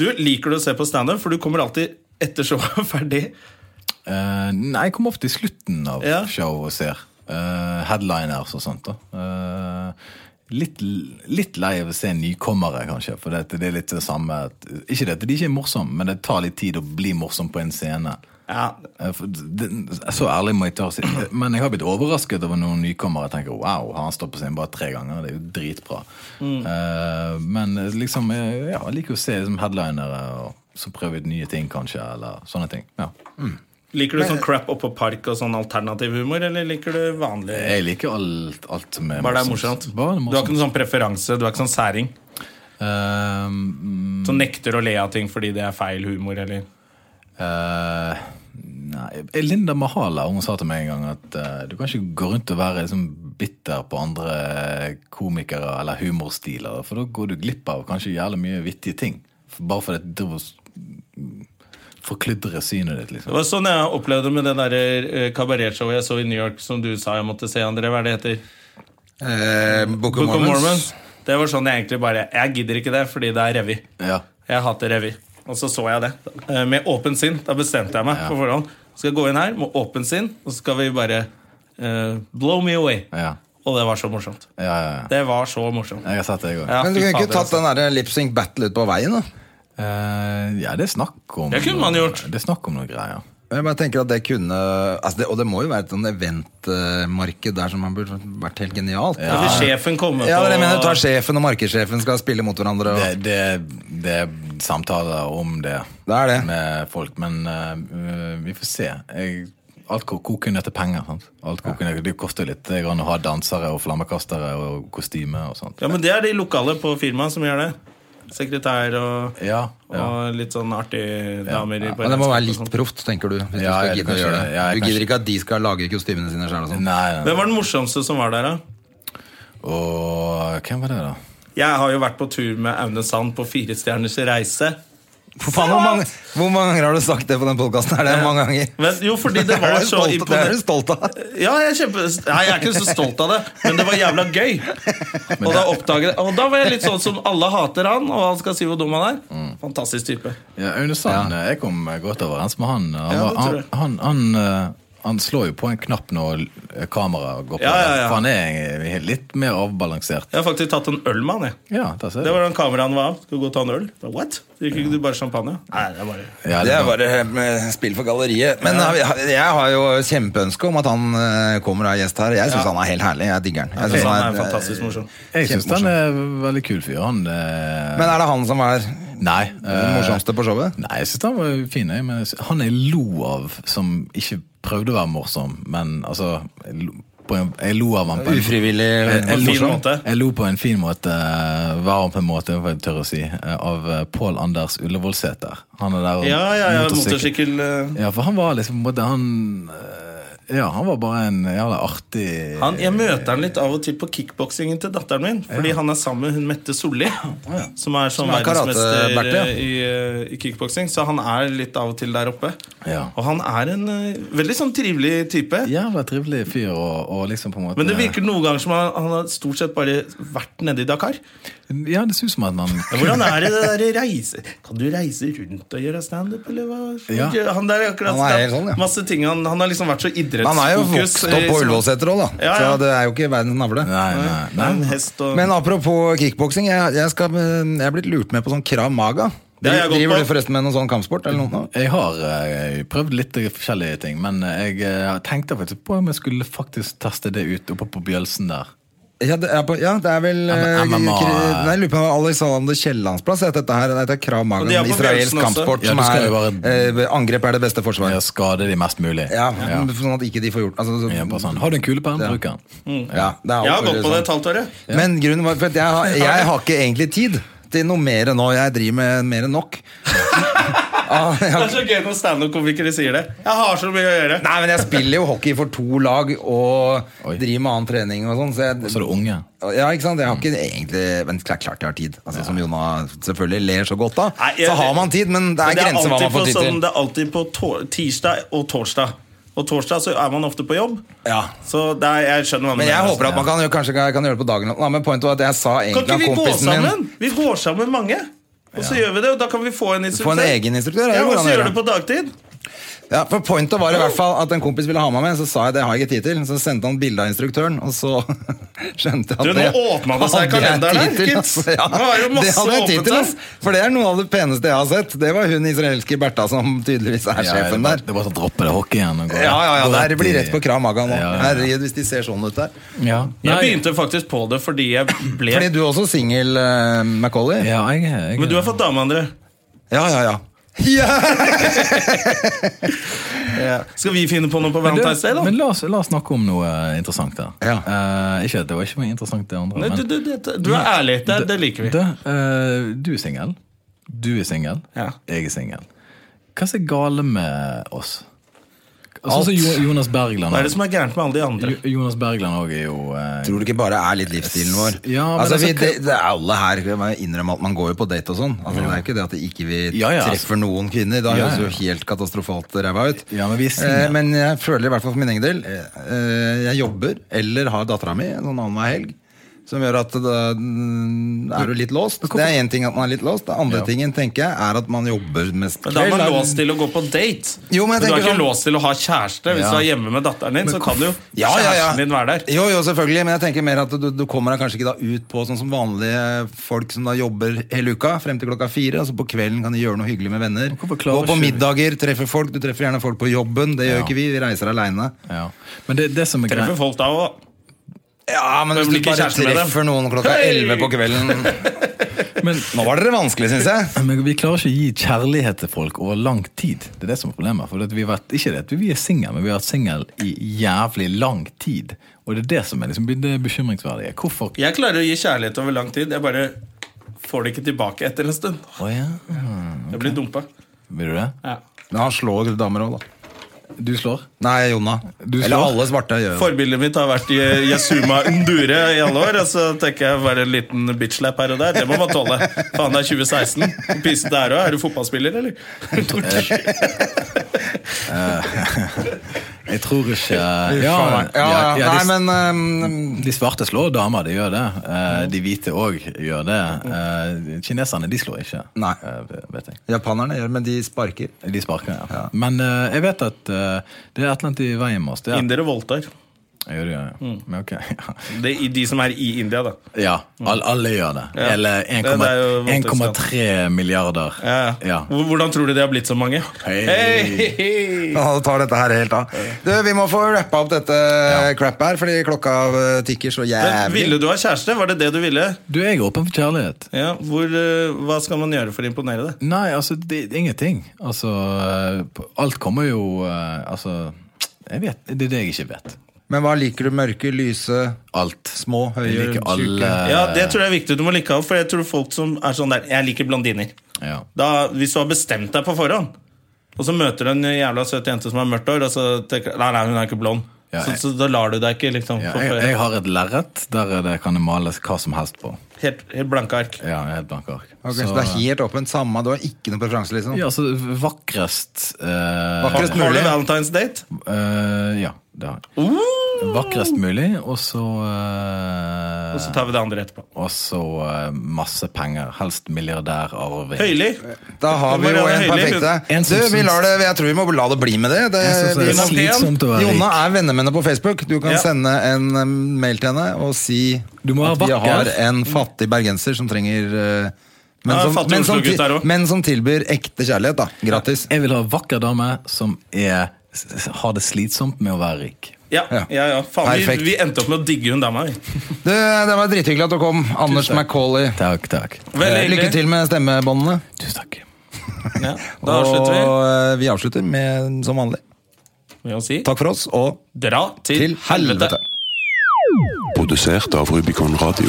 Speaker 1: Du liker du å se på standup, for du kommer alltid etter showet [LAUGHS] er ferdig.
Speaker 3: Eh, nei, jeg kommer ofte i slutten av
Speaker 1: Ja.
Speaker 3: show og ser. eh, headliners og sånt. da Eh, litt, litt lei av å se nykommere, kanskje. For det, det er litt det samme at, Ikke det at de ikke er morsomme, men det tar litt tid å bli morsom på en scene.
Speaker 1: Ja.
Speaker 3: Eh, for det, så ærlig må jeg ta og si. Men jeg har blitt overrasket over noen nykommere. Jeg tenker, wow, har han stått på scenen bare tre ganger? Det er jo dritbra. Eh, men liksom, eh, ja, jeg liker å se liksom, headlinere og, som prøver ut nye ting, kanskje. Eller sånne ting. ja
Speaker 1: Liker du
Speaker 3: eh,
Speaker 1: sånn crap oppå park og sånn alternativ humor, eller liker du vanlig?
Speaker 3: Jeg liker alt, alt som er
Speaker 1: Bare det er morsomt.
Speaker 3: Bare
Speaker 1: Du har
Speaker 3: det er
Speaker 1: ikke
Speaker 3: morsomt.
Speaker 1: noen sånn preferanse, du er ikke sånn særing
Speaker 3: Ehm,
Speaker 1: som nekter å le av ting fordi det er feil humor, eller
Speaker 3: eh, nei, eh, Linda Mahala hun sa til meg en gang at eh, du kan ikke gå rundt og være liksom, bitter på andre komikere eller humorstiler, for da går du glipp av kanskje jævlig mye vittige ting. For- Bare fordi du driver og s- mm, forkludrer synet ditt,
Speaker 1: Det
Speaker 3: liksom.
Speaker 1: var sånn jeg opplevde med det der eh, kabaretshowet jeg så i New York, som du sa jeg måtte se, André. Hva er det heter?
Speaker 2: Eh, Book of
Speaker 1: Book of
Speaker 2: Mormons.
Speaker 1: Mormons. Det var sånn jeg egentlig bare Jeg gidder ikke det, fordi det er revy.
Speaker 3: Ja.
Speaker 1: Jeg hater revy. Og så så jeg det. Eh, Med åpen sinn. Da bestemte jeg meg på forhånd. Skal jeg gå inn her med åpen sinn, og så skal vi bare eh, blow me away.
Speaker 3: Ja.
Speaker 1: Og det var så morsomt.
Speaker 3: Ja, ja, ja.
Speaker 1: Det var så morsomt.
Speaker 3: Jeg har sett det, jeg òg.
Speaker 1: Ja,
Speaker 2: Men du
Speaker 1: fy
Speaker 2: kunne ikke
Speaker 1: fader, altså.
Speaker 2: tatt den derre lip-sync battle ut på veien, da?
Speaker 3: Eh, ja, det er snakk om
Speaker 1: Det kunne man
Speaker 3: noe-
Speaker 1: gjort.
Speaker 3: Det er snakk om noen greier.
Speaker 2: Jeg bare tenker at det kunne altså det, Og det må jo være et sånn eventmarked der som har burde vært helt genialt.
Speaker 1: Da vil sjefen komme
Speaker 2: Ja, men jeg mener,
Speaker 1: på
Speaker 2: tar sjefen og markedssjefen skal spille mot hverandre. Og,
Speaker 3: Det, det, det er samtaler om det,
Speaker 2: Det er det.
Speaker 3: med folk, men eh, vi får se. Jeg, alt ko- koker ned til penger. Sant? Alt koker ned, det koster litt det grann å ha dansere og flammekastere og kostyme og sånt.
Speaker 1: Ja, men det er de lokale på firmaet som gjør det. Sekretær og,
Speaker 3: Ja, ja.
Speaker 1: og litt sånn artige damer. i
Speaker 2: men det må være
Speaker 1: beredskap og sånn.
Speaker 2: litt
Speaker 1: sånt.
Speaker 2: proft, tenker du. Hvis
Speaker 3: sånn. Ja,
Speaker 2: du
Speaker 3: jeg
Speaker 2: skal gidde å
Speaker 3: kanskje-
Speaker 2: gjøre det.
Speaker 3: ja, jeg
Speaker 2: du
Speaker 3: kanskje-
Speaker 2: gidder ikke at de skal lage kostymene sine sjøl og
Speaker 3: Nei,
Speaker 2: sånn.
Speaker 3: nei, nei.
Speaker 1: Hvem var den morsomste som var der, da?
Speaker 3: Og hvem var det, da?
Speaker 1: Jeg har jo vært på tur med Aune Sand på Fire stjerners reise.
Speaker 2: For faen, hvor mange, hvor mange ganger har du sagt det på den podkasten? Er det mange ganger?
Speaker 1: Men, jo, fordi det
Speaker 2: [LAUGHS] Er
Speaker 1: var
Speaker 2: du
Speaker 1: så
Speaker 2: stolt- det er du
Speaker 1: imponerende.
Speaker 2: stolt av.
Speaker 1: Ja, jeg er, kjempe... Nei, jeg er ikke så stolt av det, men det var jævla gøy. Og da oppdaget Og da var jeg litt sånn som alle hater han, og han skal si hvor dum han er. Fantastisk type.
Speaker 3: Ja, Aune Sand. Jeg kom eh, godt overens med han. Han,
Speaker 1: Ja,
Speaker 3: var-
Speaker 1: det tror
Speaker 3: han,
Speaker 1: jeg.
Speaker 3: han, han, eh, han slår jo på en knapp når eh, kameraet går på.
Speaker 1: Ja, ja, ja.
Speaker 3: For han er eh, litt mer avbalansert.
Speaker 1: Jeg har faktisk tatt en øl med han, jeg.
Speaker 3: Ja, der ser
Speaker 1: Det
Speaker 3: du.
Speaker 1: var den kameraet han var av. Skal du gå og ta en øl? Da, What? Drikker ikke du bare champagne? Nei, det er bare
Speaker 3: Ja,
Speaker 2: Det er
Speaker 3: var-
Speaker 2: bare eh, spill for galleriet. Men jeg, jeg har jo kjempeønske om at han eh, kommer og er gjest her. Jeg syns han er helt herlig. Jeg digger han. Jeg synes
Speaker 1: Så han er
Speaker 2: eh,
Speaker 1: fantastisk morsom.
Speaker 3: jeg syns han er veldig kul fyr. Han eh,
Speaker 2: Men er det han som er
Speaker 3: Nei.
Speaker 2: den
Speaker 3: eh,
Speaker 2: morsomste på showet?
Speaker 3: Nei, jeg syns han var fin, jeg. Men jeg sy- han jeg lo av, som ikke prøvde å være morsom, men altså Jeg lo, på en, jeg lo av han på en
Speaker 2: Ufrivillig
Speaker 3: Jeg, jeg,
Speaker 1: fin
Speaker 3: lo,
Speaker 1: måte.
Speaker 3: jeg lo på en fin måte, eh, varm på en måte, hva jeg tør å si, eh, av eh, Pål Anders Ullevålsæter. Han er der og
Speaker 1: Ja, ja, ja.
Speaker 3: motorsykkel-
Speaker 1: Motorsykkel. eh,
Speaker 3: Ja, for han var liksom på en måte Han eh, Ja, han var bare en jævla artig
Speaker 1: Han, jeg møter han litt av og til på kickboksingen til datteren min. Fordi han er sammen med hun Mette Solli, som er sånn
Speaker 2: Som er
Speaker 1: verdensmester
Speaker 2: karate-Bertil, ja.
Speaker 1: eh, i, eh, i kickboksing. Så han er litt av og til der oppe.
Speaker 3: Ja.
Speaker 1: Og han er en eh, veldig sånn trivelig type.
Speaker 3: Jævla trivelig fyr, og, og liksom på en måte
Speaker 1: Men det virker noen ganger som han, han har stort sett bare vært nede i Dakar.
Speaker 3: Ja, det ser ut som
Speaker 2: [LAUGHS]
Speaker 3: at han
Speaker 1: Ja, Hvordan er det det der reise Kan du reise rundt og gjøre standup, eller hva?
Speaker 3: Ja.
Speaker 1: Han der er akkurat
Speaker 2: Han er helt sånn, ja.
Speaker 1: Masse ting han, han har liksom vært så idrettsfokus.
Speaker 2: Han er jo vokst opp
Speaker 1: eh,
Speaker 2: på
Speaker 1: som-
Speaker 2: Ullevålseter òg, da.
Speaker 1: Ja, ja.
Speaker 2: Så det er jo ikke verdens navle.
Speaker 3: Nei, nei. nei.
Speaker 1: En hest og
Speaker 2: Men apropos kickboksing, jeg, jeg, skal- jeg er blitt lurt med på sånn krav maga.
Speaker 1: Det har jeg gått
Speaker 2: Driver
Speaker 1: på.
Speaker 2: du forresten med noen sånn kampsport? eller noe?
Speaker 3: Jeg har eh, prøvd litt forskjellige ting, men jeg eh, tenkte faktisk på om jeg skulle faktisk teste det ut oppe på Bjølsen der.
Speaker 2: Ja, det er, på, ja, det er vel eh,
Speaker 3: MMA.
Speaker 2: kri- Nei, jeg lurer på om det var Alexander Kiellands plass. het Dette her dette er Krav Maga,
Speaker 1: Og de er
Speaker 2: en
Speaker 1: på
Speaker 2: israelsk
Speaker 1: Bjørnsen også.
Speaker 2: kampsport
Speaker 3: Ja,
Speaker 2: som
Speaker 3: du skal
Speaker 2: er
Speaker 3: jo
Speaker 2: eh, Angrep er det beste forsvar.
Speaker 3: Jeg skader de mest mulig.
Speaker 2: Ja,
Speaker 3: Ja.
Speaker 2: Sånn at ikke de får gjort altså, så- Mm.
Speaker 3: Ja, bare sånn. Har du en kulepenn, bruk den.
Speaker 2: ja, det er
Speaker 1: Jeg har
Speaker 2: alt mulig
Speaker 1: gått på
Speaker 2: sånn.
Speaker 1: det et halvt år, jeg.
Speaker 2: Men grunnen var for at jeg, har- jeg har ikke egentlig tid til noe mer nå. Jeg driver med mer enn
Speaker 1: [LAUGHS]
Speaker 2: nok. Ah, jeg
Speaker 1: Det
Speaker 2: har
Speaker 1: er så gøy når standup-komikere sier det. Jeg har så mye å gjøre.
Speaker 2: Nei, men jeg spiller jo hockey for to lag og
Speaker 3: Oi.
Speaker 2: driver med annen trening og sånn. Så, jeg,
Speaker 3: Så er det unge.
Speaker 2: ja, ikke sant? Jeg har ikke egentlig Men det er klart jeg har tid. Altså, Som Jona selvfølgelig ler så godt av.
Speaker 1: Nei, jeg-
Speaker 2: så har man tid, men det
Speaker 1: Men
Speaker 2: er, grenser hva
Speaker 1: alltid
Speaker 2: man får
Speaker 1: på
Speaker 2: tid til.
Speaker 1: sånn- det er alltid på tor- tirsdag og torsdag. Og torsdag så er man ofte på jobb.
Speaker 2: Ja.
Speaker 1: Så det er, sånn, jeg skjønner hva du
Speaker 2: Men jeg
Speaker 1: mener,
Speaker 2: håper at man kan, kanskje kan, kan gjøre det på dagen. Nei, men pointet var at jeg sa
Speaker 1: Kan
Speaker 2: egentlig
Speaker 1: ikke
Speaker 2: at
Speaker 1: vi gå
Speaker 2: kompisen
Speaker 1: sammen?
Speaker 2: min
Speaker 1: Vi går sammen mange. Og så gjør vi det, og da kan vi få en instruktør.
Speaker 2: Få en egen instruktør, ja,
Speaker 1: ja,
Speaker 2: hvordan
Speaker 1: og så
Speaker 2: gjør
Speaker 1: gjør
Speaker 2: det?
Speaker 1: det på dagtid.
Speaker 2: ja, For pointet var i hvert fall at en kompis ville ha meg med, så sa jeg det har jeg ikke tid til. Så sendte han bilde av instruktøren, og så [LAUGHS] skjønte jeg at
Speaker 1: Du, nå åpnet det seg
Speaker 2: hadde
Speaker 1: i
Speaker 2: jeg
Speaker 1: kalenderen
Speaker 2: tid
Speaker 1: her,
Speaker 2: til,
Speaker 1: gitt.
Speaker 2: altså. Ja,
Speaker 1: Nå er det jo
Speaker 2: det
Speaker 1: masse
Speaker 2: hadde jeg tid
Speaker 1: åpent
Speaker 2: til,
Speaker 1: her.
Speaker 2: ass. For det er noe av det peneste jeg har sett. Det var hun israelske Bertha som tydeligvis er
Speaker 3: Ja, det,
Speaker 2: sjefen
Speaker 3: var,
Speaker 2: der.
Speaker 3: det var sånn droppe det hockey igjen. og gå-
Speaker 2: Ja, ja, ja,
Speaker 3: gå
Speaker 2: der blir
Speaker 3: i-
Speaker 2: rett på krav maga nå.
Speaker 3: Ja, ja, ja.
Speaker 2: Herregud, hvis de ser sånn ut der.
Speaker 3: Ja.
Speaker 1: Jeg
Speaker 3: Nei,
Speaker 1: begynte faktisk på det fordi jeg ble
Speaker 2: Fordi du er også singel, uh, Macauley?
Speaker 3: Ja, jeg, jeg,
Speaker 1: Men du har fått dame, André.
Speaker 2: Ja, ja, ja. ja.
Speaker 1: Skal vi finne på noe på
Speaker 3: Men du,
Speaker 1: Valentine's Day, da?
Speaker 3: Men la oss, la oss snakke om noe interessant der.
Speaker 2: Ja.
Speaker 3: Eh, ikke, det var ikke noe interessant, det andre.
Speaker 1: Nei,
Speaker 3: men-
Speaker 1: du, du, du, du er ærlig. Det, det liker vi.
Speaker 3: Du, eh, du er singel. Du er singel.
Speaker 1: Ja.
Speaker 3: Jeg er singel. Hva er så gale med oss? Sånn som Jo- Jonas Bergland.
Speaker 1: Hva er det som er gærent med alle de andre?
Speaker 3: Jo- Jonas Bergland òg er jo eh,
Speaker 2: Tror du ikke bare er litt livsstilen vår?
Speaker 3: Ja, men
Speaker 2: altså, vi,
Speaker 3: altså,
Speaker 2: det, det er alle her jeg må innrømme at man går jo på date og sånn. Altså, det er jo ikke det at det ikke vi
Speaker 3: Ja, ja, altså.
Speaker 2: treffer noen kvinner. Da
Speaker 3: Ja,
Speaker 2: høres det
Speaker 3: ja.
Speaker 2: jo helt katastrofalt ræva ut.
Speaker 3: Ja, men vi er single.
Speaker 2: eh, men jeg føler i hvert fall for min egen del eh, eh, Jeg jobber eller har dattera mi en sånn annenhver helg. Som gjør at da mm, er du litt låst. Det er én ting at man er litt låst. Det andre
Speaker 3: Ja.
Speaker 2: tingen tenker jeg er at man jobber mest
Speaker 1: Men da er man
Speaker 2: da.
Speaker 1: låst til å gå på date.
Speaker 2: Jo, men jeg
Speaker 1: du er
Speaker 2: tenker
Speaker 1: ikke
Speaker 2: sånn-
Speaker 1: låst til å ha kjæreste. Hvis
Speaker 2: Ja.
Speaker 1: du er hjemme med datteren din, så kan jo
Speaker 2: Ja, ja, ja.
Speaker 1: kjæresten din være der.
Speaker 2: Jo, jo, selvfølgelig, men jeg tenker mer at du, du kommer deg kanskje ikke da ut på sånn som vanlige folk som da jobber hele uka, frem til klokka fire, altså på kvelden kan de gjøre noe hyggelig med venner.
Speaker 3: hvorfor
Speaker 2: Gå
Speaker 3: klarer
Speaker 2: på
Speaker 3: ikke vi-
Speaker 2: middager, treffe folk, du treffer gjerne folk på jobben, det gjør
Speaker 3: Ja.
Speaker 2: ikke vi, vi reiser alene.
Speaker 3: ja. Men det, det som er
Speaker 1: Treffer
Speaker 3: greit
Speaker 1: folk da òg.
Speaker 2: Ja, men
Speaker 1: Men
Speaker 2: hvis du
Speaker 1: blir ikke
Speaker 2: bare
Speaker 1: kjæreste med dem?
Speaker 2: treffer noen klokka
Speaker 1: Hei!
Speaker 2: elleve på kvelden,
Speaker 3: men,
Speaker 2: nå var dere vanskelig, synes jeg.
Speaker 3: men vi klarer ikke å gi kjærlighet til folk over lang tid. Det er det som er problemet. For at vi har vært, ikke det at vi er single, men vi har vært single i jævlig lang tid. Og det er det som er liksom, det bekymringsverdige. Hvorfor?
Speaker 1: Jeg klarer å gi kjærlighet over lang tid. Jeg bare får det ikke tilbake etter en stund.
Speaker 3: Å ja.
Speaker 1: Jeg blir dumpa.
Speaker 3: Vil du det?
Speaker 1: Ja.
Speaker 2: Men han slår damer også da.
Speaker 3: Du slår?
Speaker 2: Nei, Jonna.
Speaker 3: Du
Speaker 2: Eller
Speaker 3: slår.
Speaker 2: alle svarte gjør det.
Speaker 1: Forbildet mitt har vært Je- Yasuma Undure i alle år. Og så tenker jeg bare en liten bitchlap her og der. Det må man tåle. Faen, det er 2016. Pysete der òg. Er du fotballspiller, eller?
Speaker 3: Jeg tror ikke
Speaker 2: Ja, ja, ja,
Speaker 3: ja, de-
Speaker 2: Nei, men ehm,
Speaker 3: De svarte slår damer, de gjør det. Eh, De hvite òg gjør det. Eh, Kineserne de slår ikke,
Speaker 2: Nei.
Speaker 3: eh, vet jeg.
Speaker 2: japanerne gjør men de sparker.
Speaker 3: De sparker, ja. Men eh, jeg vet at eh, det er et eller annet i veien med oss. Det er,
Speaker 1: Indere voldtar.
Speaker 3: Jeg gjør det, ja.
Speaker 1: Mm.
Speaker 3: Men ok, [LAUGHS] ja.
Speaker 1: Det er de som er i India, da.
Speaker 3: ja all, alle gjør det.
Speaker 1: Mm. Ja.
Speaker 3: Eller
Speaker 1: Det- det er jo voldtektsskandale.
Speaker 3: 1,3 milliarder.
Speaker 1: Ja. ja. Hvor- Hvordan tror du det har blitt så mange?
Speaker 3: Hei.
Speaker 1: Hei.
Speaker 2: Ja, da tar dette her helt av. Du, vi må få rappa opp dette crap her, fordi klokka eh, tikker så
Speaker 1: Men
Speaker 2: jævlig.
Speaker 1: Ville du ha kjæreste? Var det det du ville?
Speaker 3: Du, jeg er åpen for kjærlighet.
Speaker 1: Ja, hvor, eh, hva skal man gjøre for å imponere deg?
Speaker 3: Nei, altså, det, det er ingenting. Altså, eh, på- alt kommer jo eh, Altså, jeg vet, det er det jeg ikke vet.
Speaker 2: Men hva liker du? Mørke, lyse,
Speaker 3: Alt.
Speaker 2: små, høye,
Speaker 3: Jeg liker
Speaker 2: tjukke?
Speaker 3: alle
Speaker 1: Ja, Det tror jeg er viktig. Du må like av, for jeg tror folk som er sånn der Jeg liker blondiner.
Speaker 3: Ja.
Speaker 1: Da, hvis du har bestemt deg på forhånd, og så møter du en jævla søt jente som har mørkt hår, og så tenker du, Nei, nei, hun er ikke blond.
Speaker 3: Ja,
Speaker 1: så,
Speaker 3: jeg-
Speaker 1: så da lar du deg ikke liksom
Speaker 3: Ja,
Speaker 1: få-
Speaker 3: jeg, jeg har et lerret der er det kan det males hva som helst på.
Speaker 1: helt, helt blanke ark.
Speaker 3: Ja, jeg er helt blanke ark.
Speaker 2: Ok, så, det er helt åpent? Samme, du har ikke noe preferanse? liksom?
Speaker 3: ja, så vakrest eh,
Speaker 2: Vakrest
Speaker 1: Har du
Speaker 2: mulig.
Speaker 1: Valentine's date? Uh,
Speaker 3: eh, Ja, det har jeg. Vakrest mulig, og så eh,
Speaker 1: Og så tar vi det andre etterpå.
Speaker 3: Og så eh, masse penger. Helst milliardærarving.
Speaker 1: Høyli.
Speaker 2: Da har vi jo
Speaker 1: Marianne
Speaker 2: en
Speaker 1: Høili,
Speaker 2: perfekte.
Speaker 1: hun-
Speaker 3: En
Speaker 2: Du,
Speaker 3: som
Speaker 2: vi
Speaker 3: syns-
Speaker 2: lar det, jeg tror vi må la det bli med det. det
Speaker 3: Jeg synes det
Speaker 2: vi
Speaker 3: er
Speaker 2: må-
Speaker 1: Jonas Lien.
Speaker 3: slitsomt å være
Speaker 2: Jonna
Speaker 3: rik.
Speaker 2: er venner med henne på Facebook. Du kan
Speaker 1: Ja.
Speaker 2: sende en eh, mail til henne og si
Speaker 3: Du må
Speaker 2: at
Speaker 3: være
Speaker 2: vi
Speaker 3: vakker.
Speaker 2: har en fattig bergenser som trenger eh, men,
Speaker 1: Ja,
Speaker 2: som,
Speaker 1: fattig
Speaker 2: men, som,
Speaker 1: Oslo-gutt
Speaker 2: til-
Speaker 1: der også.
Speaker 2: men som tilbyr ekte kjærlighet, da. Gratis.
Speaker 3: Jeg vil ha en vakker dame som er, s- s- har det slitsomt med å være rik.
Speaker 1: Ja,
Speaker 2: Ja.
Speaker 1: ja, ja. Faen, vi,
Speaker 2: Perfekt.
Speaker 1: vi endte opp med å digge hun dama. vi.
Speaker 2: Du, det var drithyggelig at du kom, Anders Macauley.
Speaker 3: Takk, takk.
Speaker 1: Vel,
Speaker 2: Eh, Lykke
Speaker 1: hyggelig.
Speaker 2: til med stemmebåndene.
Speaker 3: Tusen takk.
Speaker 1: Ja, da
Speaker 2: og
Speaker 1: avslutter vi
Speaker 2: eh, vi avslutter med som vanlig.
Speaker 1: med å si
Speaker 2: Takk for oss, og
Speaker 1: dra til,
Speaker 2: til helvete!
Speaker 1: helvete.
Speaker 5: Produsert av Rubicon Radio.